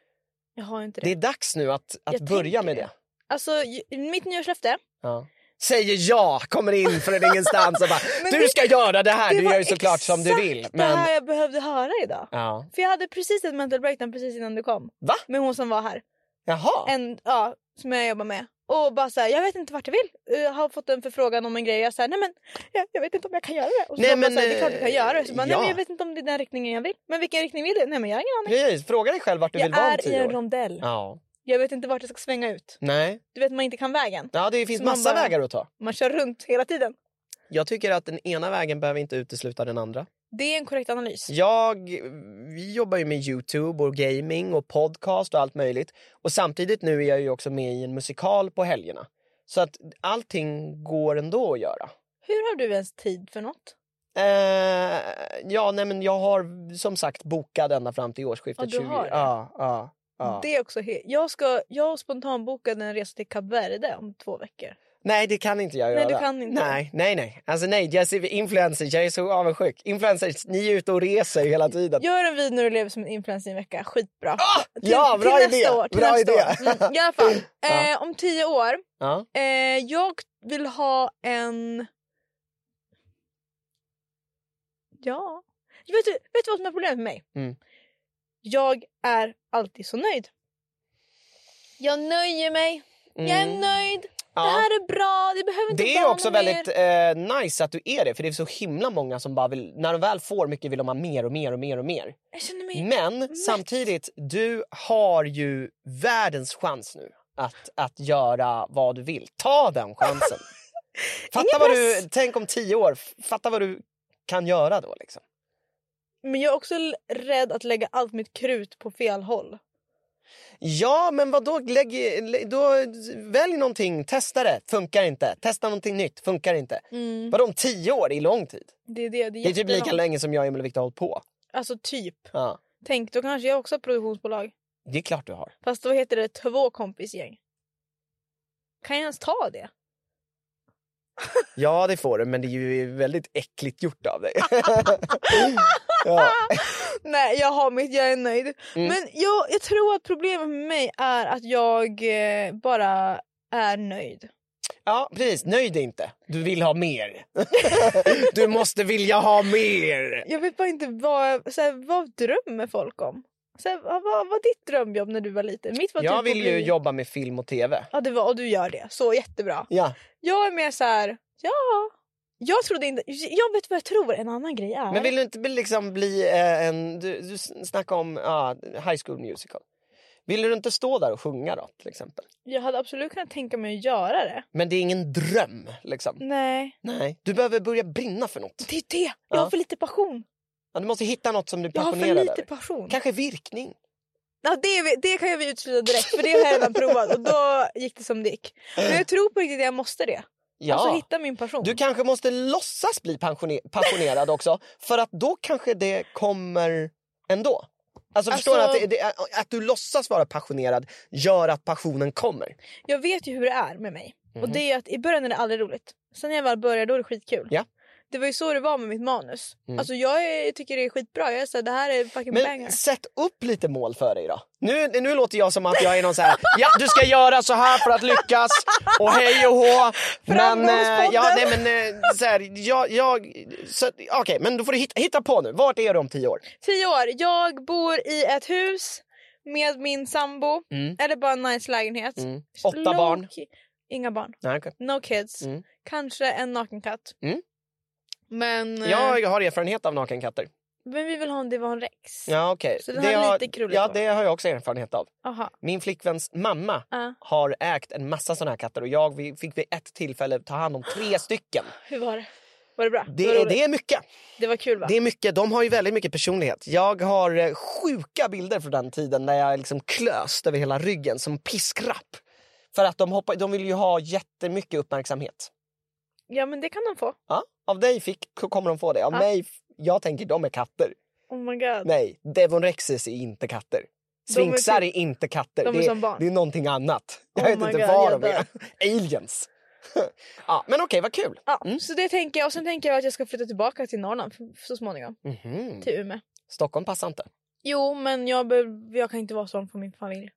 jag har inte det. Det är dags nu att, att Jag börja tänker med det. det. Alltså, j- mitt nyårslöfte. Ja. Säger jag, kommer in från ingenstans och bara Men du det- ska göra det här, det du var gör ju såklart som du exakt vill. Det Men, här jag behövde höra idag. ja. För jag hade precis ett mental breakdown precis innan du kom. Va? Med hon som var här. Jaha, En, ja, som jag jobbar med. Och bara såhär, jag vet inte vart jag vill. Jag har fått en förfrågan om en grej. Jag säger nej men jag, jag vet inte om jag kan göra det. Och så Nej, de bara men, såhär, det är klart du kan eh, göra det. Så bara, nej ja. men jag vet inte om det är den riktningen jag vill. Men vilken riktning vill du? Nej men jag har ingen aning. precis. Fråga dig själv vart du vill Jag vara om är i tio en år. rondell. Ja. Jag vet inte vart jag ska svänga ut. Nej. Du vet man inte kan vägen. Ja, det finns Så man massa bara- vägar att ta. Man kör runt hela tiden. Jag tycker att den ena vägen behöver inte utesluta den andra. Det är en korrekt analys. Jag, vi jobbar ju med Youtube och gaming och podcast och allt möjligt. Och samtidigt nu är jag ju också med i en musikal på helgerna. Så att allting går ändå att göra. Hur har du ens tid för något? Eh, ja, nej, men jag har som sagt bokat ända fram till årsskiftet. Ja, du har det. Ja, ja, ja. Det är också he- jag, ska, jag spontanbokade en resa till Kap Verde om två veckor. Nej, det kan inte jag Nej, göra. du kan inte. Nej, nej, nej. Alltså nej, jag ser influencers, jag är så avundsjuk. Influencers, ni är ute och reser hela tiden. Gör en video när du lever som en influencer i en vecka. Skitbra. Ah! till, ja, bra till idé, Nästa år, till bra nästa idé. År. Mm, I alla fall, Ja. eh, om tio år. Ja. Eh, jag vill ha en... Ja. Vet du, vet du vad som är problemet med mig? Mm. Jag är alltid så nöjd. Jag nöjer mig. Jag är Mm. nöjd. Ja. Det här är bra. Det behöver inte Det vara är också något väldigt mer. eh, nice att du är det, för det är så himla många som bara vill, när de väl får mycket vill de ha mer och mer och mer och mer. Jag känner mig... Men Mätt. samtidigt, du har ju världens chans nu att, att göra vad du vill. Ta den chansen. fatta Ingen vad du, press. tänk om tio år, fatta vad du kan göra då. Liksom. Men jag är också l- rädd att lägga allt mitt krut på fel håll. Ja, men vad då? Lägg, lä- då välj någonting, testa det, funkar inte. Testa någonting nytt, funkar inte. Mm. Vadå om tio år? Det är lång tid. Det är det. Det är, Det är typ lika jättelångt. länge som jag och Emil och Victor har hållit på. Alltså typ. Ja. Tänk, då kanske jag också har produktionsbolag. Det är klart du har. Fast då heter det två kompisgäng. Kan jag ens ta det? Ja, det får du, men det är ju väldigt äckligt gjort av dig. ja. Nej, jag har mitt. Jag är nöjd. Mm. Men jag, jag tror att problemet med mig är att jag eh, bara är nöjd. ja, precis. Nöj dig inte. Du vill ha mer. du måste vilja ha mer. Jag vet bara inte vad, så här, vad drömmer folk om? Så här, vad vad var ditt drömjobb när du var liten? Mitt var typ Jag att vill ju bli- jobba med film och tv. Ja, det var, och du gör det. Så jättebra. Ja. Jag är mer så här, ja. Jag trodde inte, jag vet vad jag tror en annan grej är. Men vill du inte bli- liksom bli eh, en... Du, du snackade om ja, High School Musical. Vill du inte stå där och sjunga då, till exempel? Jag hade absolut kunnat tänka mig att göra det. Men det är ingen dröm, liksom. Nej. Nej. Du behöver börja brinna för något. Det är det! Jag Ja. har för lite passion. Ja, du måste hitta något som du är Jag har för passionerad lite över. passion. Kanske virkning. Ja, det, är vi- det kan jag vi utsluta direkt för det har jag redan provat och då gick det som det gick. Men jag tror på riktigt att jag måste det. Ja. Alltså hitta min passion. Du kanske måste låtsas bli pensione- passionerad också för att då kanske det kommer ändå. Alltså, förstår du att, Alltså- det, det, att du låtsas vara passionerad gör att passionen kommer. Jag vet ju hur det är med mig. Och Mhm. det är att i början är det aldrig roligt. Sen när jag väl börjar då är det skitkul. Ja. Det var ju så det var med mitt manus. Mm. Alltså jag är, tycker det är skitbra. Jag är så här, det här är fucking banger. Men sätt upp lite mål för dig då. Nu, nu låter jag som att jag är någon så här, ja du ska göra så här för att lyckas och hej och hå. Men, eh, ja, nej, Framgångspodden. men eh, så här, jag, jag, så- okej men då får du hitta, hitta på nu. Vart är du om tio år? Tio år. Jag bor i ett hus med min sambo. Mm. Eller bara en nice lägenhet. Mm. Åtta Low barn. key- Inga barn. Nej, okej. No kids. Mm. Kanske en nakenkatt. Mm. Men... eh, Jag har erfarenhet av nakenkatter. Men vi vill ha en Divan Rex. Ja, okej. Så den har lite krulligt Ja, hår. det har jag också erfarenhet av. Aha. Min flickväns mamma Ja. har ägt en massa såna här katter och jag vi- fick vid ett tillfälle ta hand om tre stycken. Hur var det? Var det bra? Det, var är- roligt? det är mycket. det var kul va? Det är mycket. De har ju väldigt mycket personlighet. Jag har eh, sjuka bilder från den tiden när jag är liksom klöst över hela ryggen som piskrapp. För att de, hoppar, de vill ju ha jättemycket uppmärksamhet. Ja men det kan de få. Ja, av dig fick, kommer de få det. Av Ja. mig, jag tänker de är katter. Oh my god. Nej, devonrexes är inte katter. De är Sphinxar typ- är inte katter. de är det, som barn. det är någonting annat. Jag Oh vet my inte God, vad jag de är. Aliens. ja, men okej, vad kul. Ja, Mm. så det tänker jag. Och sen tänker jag att jag ska flytta tillbaka till Norrland för, för så småningom. Mhm. Till Umeå. Stockholm passar inte. Jo, men jag, be- jag kan inte vara sån för min familj.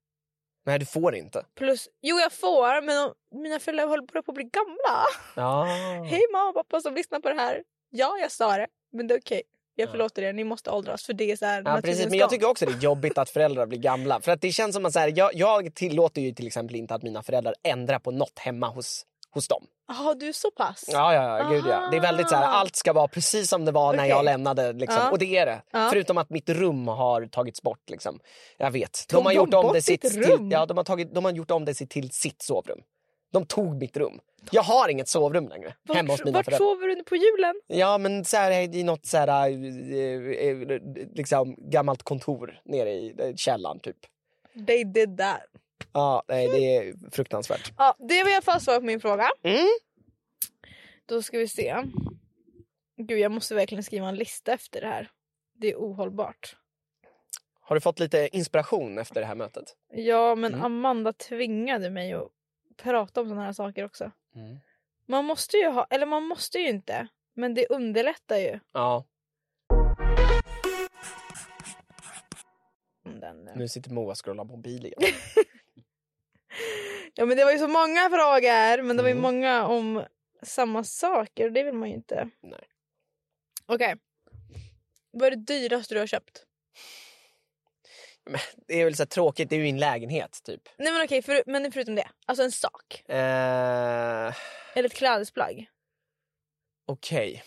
Nej, du får inte. Plus, jo jag får, men de, mina föräldrar håller på att bli gamla. Ja. Hej mamma och pappa som lyssnar på det här. Ja, jag sa det, men det är okej. Jag Ja. förlåter er, ni måste åldras för det är så här Mm. Ja, precis. Men jag tycker också det är jobbigt att föräldrar blir gamla. För att det känns som att så här, jag, jag tillåter ju till exempel inte att mina föräldrar ändrar på något hemma hos, hos dem. Jaha, du är så pass? Ja, ja, ja, gud, ja. Det är väldigt så här, Aha. allt ska vara precis som det var när Ah. Okej. Ah. jag lämnade. Liksom. Ja. Och det är det. Ja. Förutom att mitt rum har tagits bort. Liksom. Jag vet. Tog de bort sitt ditt till, rum? ja, de, har tagit, de har gjort om det sitt- till sitt sovrum. De tog mitt rum. Jag har inget sovrum längre. Vart, hemma hos mina vart föräldrar. sover du på julen? Ja, men så här, i något så här, eh, eh, liksom, gammalt kontor nere i eh, källaren. Typ. They did that. Ja, nej, det är fruktansvärt. Ja, det var i alla fall svar på min fråga. Mm. Då ska vi se. Gud, jag måste verkligen skriva en lista efter det här. Det är ohållbart. Har du fått lite inspiration efter det här mötet? Ja, men Mm. Amanda tvingade mig att prata om sådana här saker också. Mm. Man måste ju ha, eller man måste ju inte, men det underlättar ju. Ja, om Den. nu. nu sitter Moa och scrollar mobil igen. Ja, men det var ju så många frågor, men det var ju Mm. många om samma saker och det vill man ju inte. Nej. Okej. Vad är det dyraste du har köpt? Det är väl så här tråkigt, det är ju en lägenhet typ. Nej men okej, för, men förutom det. Alltså en sak. Eh, Eller ett klädesplagg. Okej.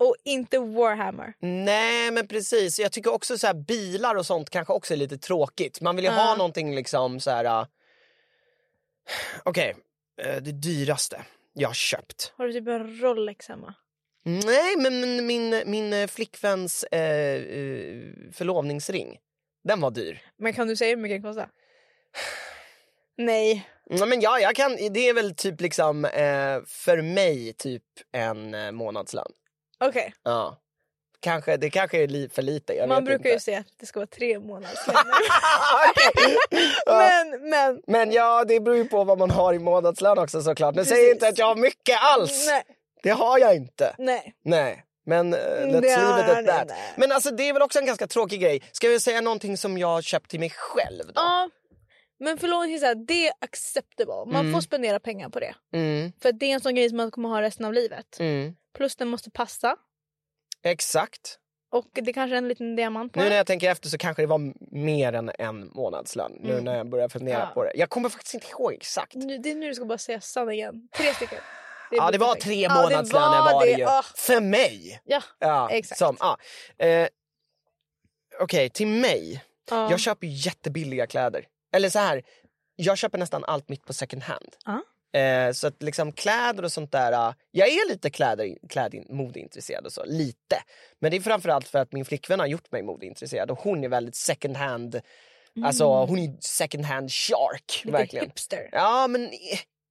Och inte Warhammer. Nej, men precis. Jag tycker också så här, bilar och sånt kanske också är lite tråkigt. Man vill ju Ja. ha någonting liksom så här... äh, Okej, eh, det dyraste jag har köpt. Har du typ en Rolex hemma? Nej, men min, min, min eh, flickväns eh, eh, förlovningsring, den var dyr. Men kan du säga hur mycket den kostar? Nej. Ja, men ja, jag kan, det är väl typ liksom eh, för mig typ en eh, månadslön. Okej, Ja. Kanske, det kanske är li, för lite. Jag man vet brukar inte. ju säga att det ska vara tre månadslöner. Okej. Ja. men, men. Men ja, det beror ju på vad man har i månadslön också såklart. Nu Precis. säger jag inte att jag har mycket alls. Nej, Det har jag inte. nej. Nej. Men uh, let's Mm, Det leave it har at ni that. inte. Men alltså det är väl också en ganska tråkig grej. Ska jag säga någonting som jag har köpt till mig själv då? Ja, men förlåt, så här, det är acceptable. Man Mm. får spendera pengar på det. Mm, För det är en sån grej som man kommer ha resten av livet. mm. Plus den måste passa. Exakt. Och det kanske är en liten diamant på Nu när den. jag tänker efter så kanske det var mer än en månadslön. Nu Mm. när jag börjar fundera Ja. på det. Jag kommer faktiskt inte ihåg exakt. Nu, det är nu du ska bara säga sanningen. Tre stycken. ja, det var perfekt. tre Ja, det månadslöner var det ju. Ah, För mig! Ja, Ja, exakt. som- ja. Eh, Okej, till mig. ja. Jag köper ju jättebilliga kläder. Eller så här, jag köper nästan allt mitt på second hand. Eh, så att liksom kläder och sånt där. eh, jag är lite kläder, klädin, modeintresserad och så, lite. Men det är framförallt för att min flickvän har gjort mig modeintresserad och hon är väldigt second hand, alltså hon är second hand shark. Mm. Lite verkligen. hipster. Ja, men eh,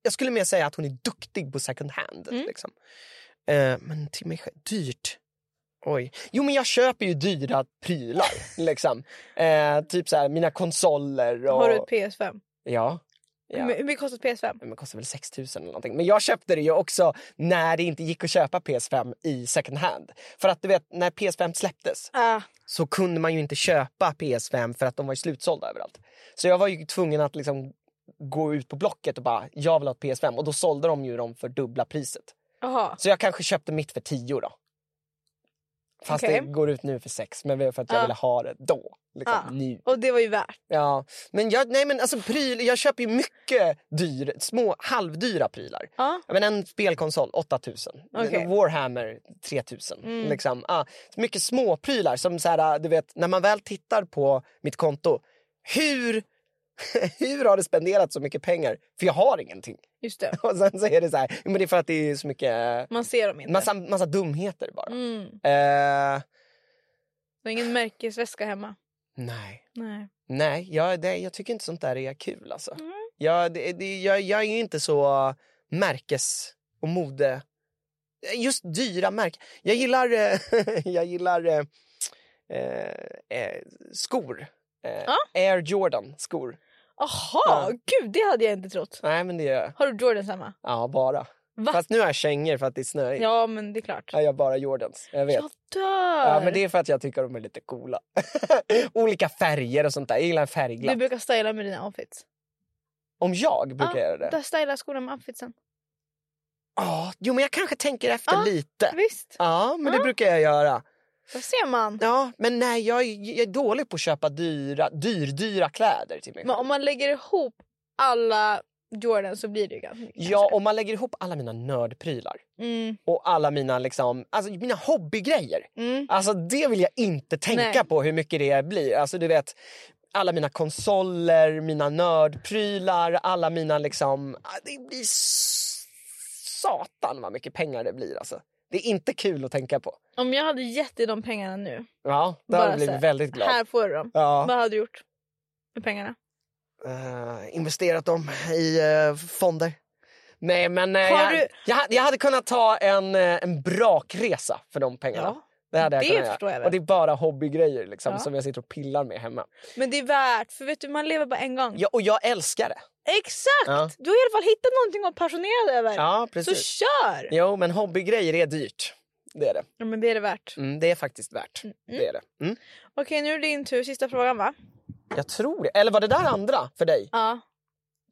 jag skulle mer säga att hon är duktig på second hand. Mm. Liksom. Eh, men till mig själv, dyrt. Oj. Jo, men jag köper ju dyra prylar. liksom. eh, typ så här, mina konsoler. Och... Har du ett PS5? Ja. ja. Hur- Hur mycket kostar ett PS5? Men det kostar väl 6 000 eller någonting. Men jag köpte det ju också när det inte gick att köpa PS5 i second hand. För att du vet, när PS5 släpptes Ah, så kunde man ju inte köpa PS5 för att de var ju slutsålda överallt. Så jag var ju tvungen att liksom gå ut på Blocket och bara jag vill ha ett PS5 och då sålde de ju dem för dubbla priset. aha. Så jag kanske köpte mitt för 10 då. Fast Okej. det går ut nu för sex, men för att jag Ja. ville ha det då. Liksom, Ja. nu. Och det var ju värt. Ja. Men, jag, nej, men alltså, pryl, jag köper ju mycket dyr, små halvdyra prylar. Ja. Ja, Men en spelkonsol, 8000. Okej. Warhammer, 3000. Mm. Liksom. Ah, så mycket småprylar. Som så här, äh, du vet, när man väl tittar på mitt konto. Hur, hur har det spenderat så mycket pengar? För jag har ingenting. Just det. Och sen så är det så här, jo, men det är för att det är så mycket... Man ser dem inte. Massa, massa dumheter bara. Mm. Eh, Du har ingen märkesväska hemma. nej. Nej. Nej, jag, det, jag tycker inte sånt där är kul. Alltså. Mm. Jag, det, det, jag, jag är ju inte så märkes och mode... eh, Just dyra märken. Jag gillar, eh, jag gillar eh, eh, eh, skor. Eh, Ja. Air Jordan-skor. Jaha, Ja. gud det hade jag inte trott. Nej, men det gör jag. Har du Jordans hemma? Ja, bara. Va? Fast nu har jag kängor för att det är snöigt. Ja. Ja men det är klart. Jag har bara Jordans. Jag vet. Jag dör! Ja, men det är för att jag tycker de är lite coola. Olika färger och sånt där. Jag gillar en Du färgglatt. brukar styla med dina outfits. Om jag brukar Ja, göra det. Där stylar skorna med outfitsen. Ja, jo men jag kanske tänker efter Ja, lite. Visst, Ja, men det Ja. brukar jag göra. där ser man. Ja, men nej, jag, är- jag är dålig på att köpa dyra, dyr, dyra kläder till mig Men själv. om man lägger ihop alla Jordan så blir det ju ganska mycket. Ja, om man lägger ihop alla mina nördprylar kanske. Mm, och alla mina, liksom, alltså, mina hobbygrejer. mm. Alltså det vill jag inte tänka Nej. på hur mycket det blir. Alltså du vet, alla mina konsoler, mina nördprylar, alla mina liksom... ah, Det blir s- satan vad mycket pengar det blir alltså. Det är inte kul att tänka på. Om jag hade gett dig de pengarna nu, Ja, då Bara hade jag så blivit här, väldigt glad. här får du dem. Ja. Vad hade du gjort med pengarna? eh, investerat dem i eh, fonder. Nej, men eh, Har jag, du- jag, hade- jag hade kunnat ta en, eh, en brakresa för de pengarna. Det, hade jag det kunnat göra. förstår jag väl. Och det är bara hobbygrejer liksom, Ja. som jag sitter och pillar med hemma. Men det är värt, för vet du man lever bara en gång. Ja, och jag älskar det. Exakt! Ja. Du har i alla fall hittat någonting att vara passionerad över. Ja, så precis. kör! Jo, men hobbygrejer är dyrt. Det är det. Ja, men det är det värt. Mm, det är faktiskt värt. Mm. Det är det. Mm. Okej, nu är det din tur. Sista frågan, va? Jag tror det. Eller var det där andra för dig? Ja.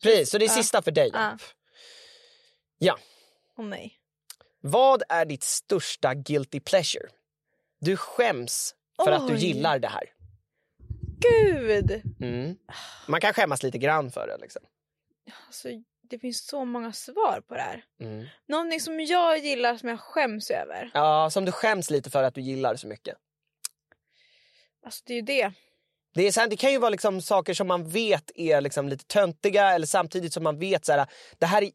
Precis, så det är Ja. sista för dig. Ja. Ja. Åh nej. Vad är ditt största guilty pleasure? Du skäms för att du Oj. gillar det här. Gud! Mm. Man kan skämmas lite grann för det. Liksom. Alltså, det finns så många svar på det här. Mm. Någonting som jag gillar som jag skäms över. Ja, som du skäms lite för att du gillar så mycket. Alltså det är ju det. Det, är så här, det kan ju vara liksom saker som man vet är liksom lite töntiga eller samtidigt som man vet så här, det här är,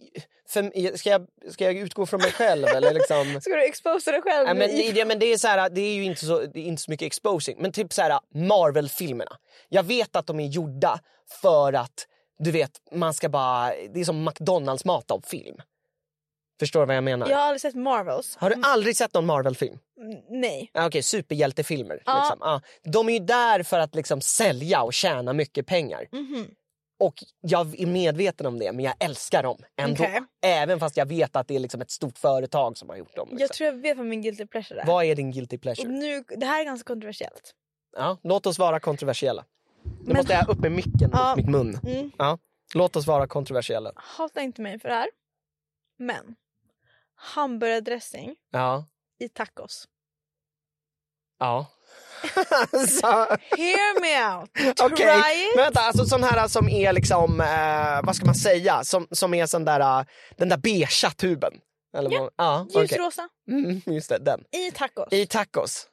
för, ska, jag, ska jag utgå från mig själv? eller liksom... Ska du exposa dig själv? Nej, men, i- det, det- men det, är så här, det är ju inte så, det är inte så mycket exposing. Men typ så här, Marvel-filmerna. Jag vet att de är gjorda för att du vet, man ska bara... Det är som McDonalds-mat av film. Förstår du vad jag menar? Jag har aldrig sett Marvels. Har du aldrig sett någon Marvel-film? Mm, Nej. Ah, Okej, superhjältefilmer. Ja. Liksom. Ah, de är ju där för att liksom sälja och tjäna mycket pengar. Mhm. Och jag är medveten om det, men jag älskar dem ändå. Okej. Även fast jag vet att det är liksom ett stort företag som har gjort dem. Liksom. Jag tror Mm. jag vet vad min guilty pleasure är. Vad är din guilty Och pleasure? nu, det här är ganska kontroversiellt. Ja, låt oss vara kontroversiella. Nu Men- måste jag upp med micken Ja. mot mitt mun. Mm. Ja. Låt oss vara kontroversiella. Hata inte mig för det här. Men. Hamburgardressing Ja. i tacos. Ja. alltså, Hear me out! Try Okej, it! men vänta. Alltså sån här som är liksom, eh, vad ska man säga, som, som är sån där, eh, den där beigea tuben. Eller ja, ja okej. Ljusrosa Mm, just det, den. i tacos. I tacos.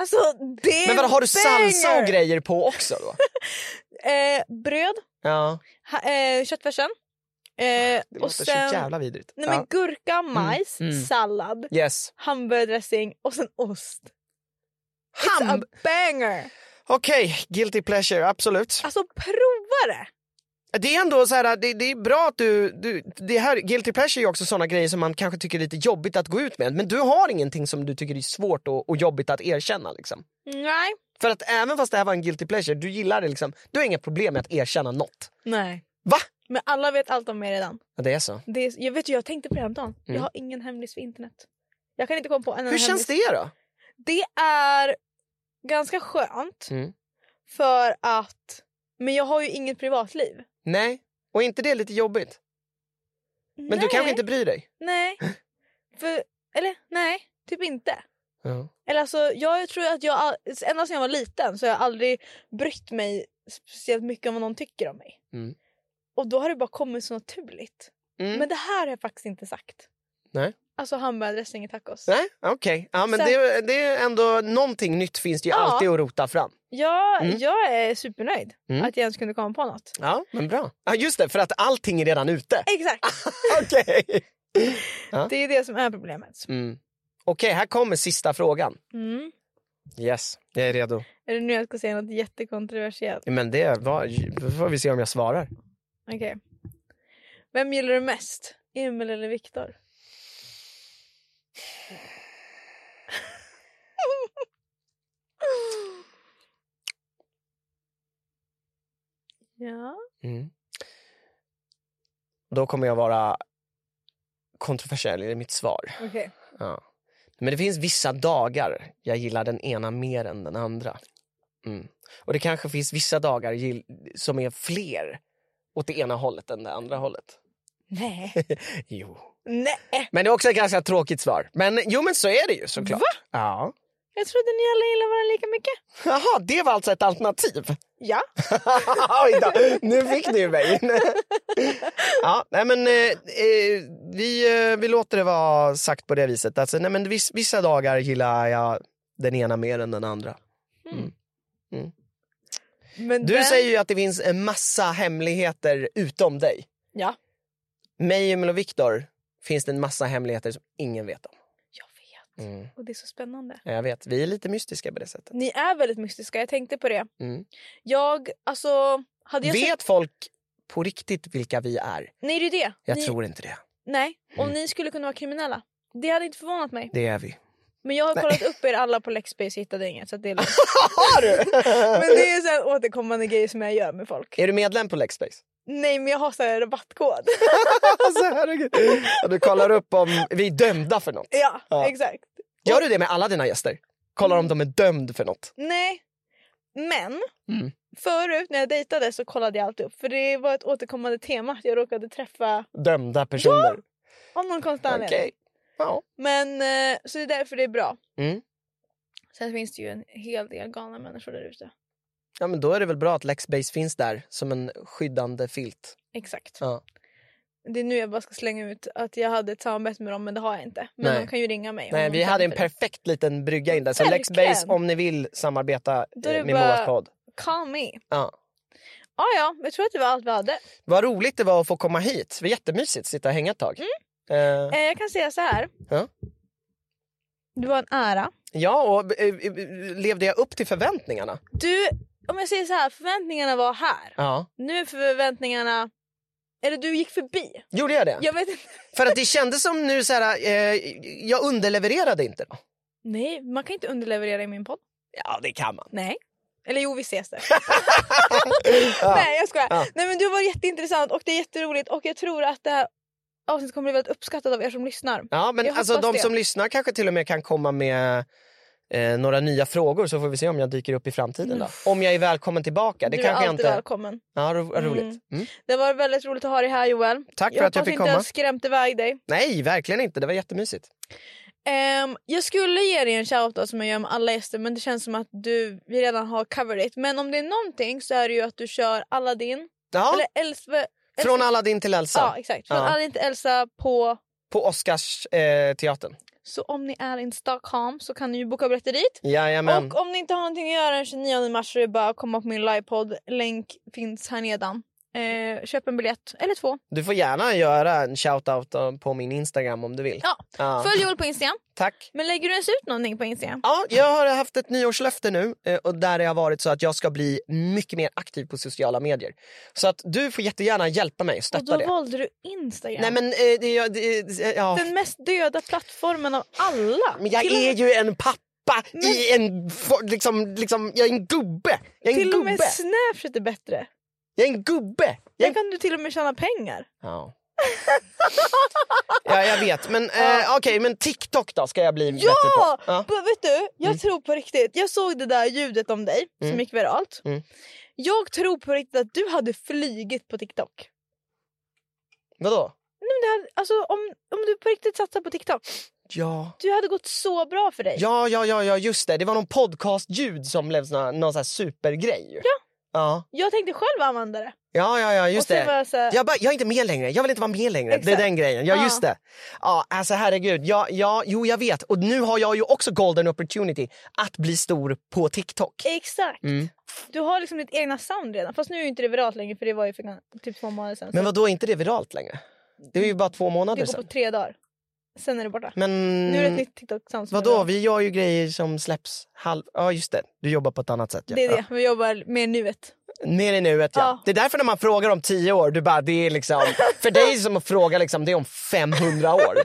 Alltså det är Men vadå, har du salsa banger! och grejer på också då? Eh, bröd, Ja, ha, eh, köttfärsen. Eh, det och låter så sen jävla vidrigt. nej, men gurka, majs, mm. sallad, ja. Yes. hamburgardressing och sen ost. It's Ham! a banger! Okej, guilty pleasure, absolut. Alltså prova det! Det är ändå så här, det, det är bra att du, du... Det här, guilty pleasure är ju också såna grejer som man kanske tycker är lite jobbigt att gå ut med. Men du har ingenting som du tycker är svårt och, och jobbigt att erkänna. Liksom. Nej. För att även fast det här var en guilty pleasure, du gillar det liksom. Du har inga problem med att erkänna något. Nej. Va? Men alla vet allt om mig redan. Ja, det är så. Det är, jag vet ju, jag tänkte på det häromdagen. Jag Mm. har ingen hemlis för internet. Jag kan inte komma på en enda Hur känns hemlis. det då? Det är ganska skönt. Mm. För att... Men jag har ju inget privatliv. Nej. Och är inte det lite jobbigt? Men nej, du kanske inte bryr dig? Nej. För, eller nej, typ inte. Ja. Eller alltså, jag tror att jag, all- ända sedan jag var liten så har jag aldrig brytt mig speciellt mycket om vad någon tycker om mig. Mm. Och då har det bara kommit så naturligt. Mm. Men det här har jag faktiskt inte sagt. Nej. Alltså hamburgardressing i tacos. Nej, okej. Ja, men Så- det, det är ändå någonting nytt finns det ju Ja. alltid att rota fram. Ja, Mm. Jag är supernöjd Mm. att jag ens kunde komma på något. Ja, men bra. Ja, just det, för att allting är redan ute. Exakt, Ah. Okej. det är det som är problemet. Mm. Okej, här kommer sista frågan. Mm. Yes, jag är redo. Är det nu jag ska säga något jättekontroversiellt? Men det var, får vi se om jag svarar. Okej. Vem gillar du mest? Emil eller Viktor? ja. Mm. Då kommer jag vara kontroversiell i mitt svar. Okej. Ja. Men det finns vissa dagar jag gillar den ena mer än den andra. Mm. Och det kanske finns vissa dagar gill- som är fler åt det ena hållet än det andra hållet. Nej. Jo. Nej. Men det är också ett ganska tråkigt svar. Men jo, men så är det ju såklart. Va? Ja. Jag trodde ni alla gillade varandra lika mycket. Jaha, det var alltså ett alternativ. Ja. Oj då, nu fick ni ju mig. ja, nej men, eh, eh, vi, eh, vi låter det vara sagt på det viset. Alltså, nej men, viss, vissa dagar gillar jag den ena mer än den andra. Men Du den- säger ju att det finns en massa hemligheter utom dig. Ja. Mig, Emil och Viktor finns det en massa hemligheter som ingen vet om. Jag vet. Mm. Och det är så spännande. Ja, Jag vet, vi är lite mystiska på det sättet. Ni är väldigt mystiska, jag tänkte på det. Mm. Jag, alltså... Hade jag sett... Vet folk på riktigt vilka vi är? Nej, det är ju det. Jag ni... tror inte det. Nej, om Mm. ni skulle kunna vara kriminella. Det hade inte förvånat mig. Det är vi. Men jag har Nej. kollat upp er alla på Lexbase och hittade inget. Så att det är lugnt. Har du? men det är så här återkommande grejer som jag gör med folk. Är du medlem på Lexbase? Nej men jag har så här rabattkod. alltså, herregud. Ja, Du kollar upp om vi är dömda för något. ja, Ja. exakt. Gör du det med alla dina gäster? Kollar om de är dömd för något? Nej. Men Mm. förut när jag dejtade så kollade jag alltid upp. För det var ett återkommande tema att jag råkade träffa Dömda personer? av någon konstig Okej. anledning. Ja. Men eh, så det är därför det är bra. Mm. Sen finns det ju en hel del galna människor där ute. ja, men då är det väl bra att Lexbase finns där som en skyddande filt. Exakt. Ja. Det är nu jag bara ska slänga ut att jag hade ett samarbete med dem men det har jag inte. Men Nej. de kan ju ringa mig. om Nej, de vi kan hade en för det. perfekt liten brygga in där. Så Verkligen. Lexbase, om ni vill samarbeta Då är det eh, med bara- Moas podd. Call me. Ja. Ah, ja, jag tror att det var allt vi hade. Vad roligt det var att få komma hit. Det var jättemysigt att sitta och hänga ett tag. Eh, Eh, jag kan säga så här. Ja. Det var en ära. ja, och eh, eh, levde jag upp till förväntningarna? Du, om jag säger så här, förväntningarna var här. Ja. Nu är förväntningarna... Eller du gick förbi. Gjorde jag det? Jag vet inte. För att det kändes som nu så här, eh, jag underlevererade inte då. Nej, man kan inte underleverera i min podd. Ja, det kan man. Nej. Eller jo, vi ses där. ja. Nej jag skojar. Ja. Nej men du var jätteintressant och det är jätteroligt och jag tror att det här avsnittet kommer bli väldigt uppskattat av er som lyssnar. ja, men Jag alltså hoppas de det. som lyssnar kanske till och med kan komma med eh, några nya frågor så får vi se om jag dyker upp i framtiden. Mm. Då. Om jag är välkommen tillbaka. Det du är kanske jag alltid inte... välkommen. Ja, ro Mm. roligt. Mm. Det var väldigt roligt att ha dig här Joel. Tack för jag att jag hoppas fick inte komma. jag skrämt iväg dig. Nej, verkligen inte. Det var jättemysigt. Ehm, jag skulle ge dig en shoutout som jag gör med alla gäster men det känns som att du, vi redan har covered it. Men om det är någonting så är det ju att du kör Aladdin. Ja, Eller Elsa... från Aladdin till Elsa Ja exakt. Från Ja. Aladdin till Elsa på... på Oscarsteatern. Eh, teatern. Så om ni är i Stockholm så kan ni ju boka biljetter dit. Jajamän. Och om ni inte har någonting att göra den 29 mars så är det bara att komma på min livepodd. Länk finns här nedan. Eh, köp en biljett, eller två. Du får gärna göra en shoutout eh, på min Instagram om du vill. Ja. Följ Joel på Instagram. Tack. Men lägger du ens ut någonting på Instagram? Ja, jag har haft ett nyårslöfte nu eh, och där har jag varit så att jag ska bli mycket mer aktiv på sociala medier. Så att du får jättegärna hjälpa mig och Och då stötta det. valde du Instagram. Nej men, eh, det, jag- det, eh, ja. Den mest döda plattformen av alla. men jag till och är med, ju en pappa Men- i en... for- Liksom, liksom, jag är en gubbe! Jag är en till och med gubbe! Snapchat är bättre. Jag är en gubbe! Jag är Där en... kan du till och med tjäna pengar. Ja. ja, jag vet. Men eh, okej, men TikTok då ska jag bli Ja! bättre på. Ja! B- vet du, jag Mm. tror på riktigt. Jag såg det där ljudet om dig Mm. som gick viralt. Mm. Jag tror på riktigt att du hade flygit på TikTok. Vadå? Nej, men det hade, alltså, om, om du på riktigt satsar på TikTok Ja. Du hade gått så bra för dig. Ja, ja, ja, ja, just det. Det var någon podcastljud som blev såna, någon sån här supergrej. ju. Ja. Jag tänkte själv använda det. Ja, ja, ja, och just sen det. Var jag så här, Jag, bara, jag är inte med längre, jag vill inte vara med längre. Det är Exakt. den grejen. Ja, Ja. just det. Ja, alltså herregud. Ja, ja, jo, jag vet. Och nu har jag ju också golden opportunity att bli stor på TikTok. Exakt. Mm. Du har liksom ditt egna sound redan. Fast nu är ju inte det viralt längre för det var ju för gan- typ två månader sedan. Men så vad då är inte det viralt längre? Det är ju bara två månader det går på sedan. tre dagar. Sen är det borta. Men Nu är det ett nytt TikTok-sound. som är Mm. vadå, viralt. vi gör ju grejer som släpps halv... Ja, just det. Du jobbar på ett annat sätt. Ja. Det är det. Vi jobbar med nuet. Ja. Mer i nuet, ja. Ja. Det är därför när man frågar om tio år, du bara, det är liksom... För dig som att fråga, liksom, det är om 500 år.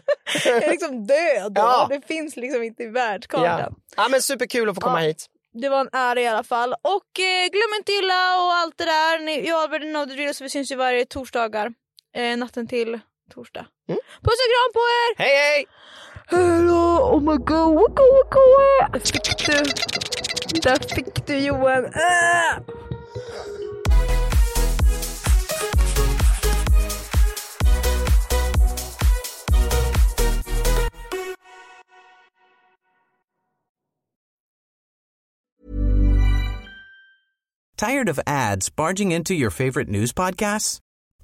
Jag är liksom död. då. Ja. Det finns liksom inte i världskartan. ja. ja, men superkul att få komma Ja. hit. Det var en ära i alla fall. Och eh, glöm inte illa och allt det där. Ni, jag och Albert Know the Drill så vi syns ju varje torsdagar. Eh, natten till torsdag. Mm. Puss och kram på er! Hej, hej! Hello, oh my god, wacko wacko! eh. Där fick du. Där fick du Johan. Ah! Tired of ads barging into your favorite news podcasts?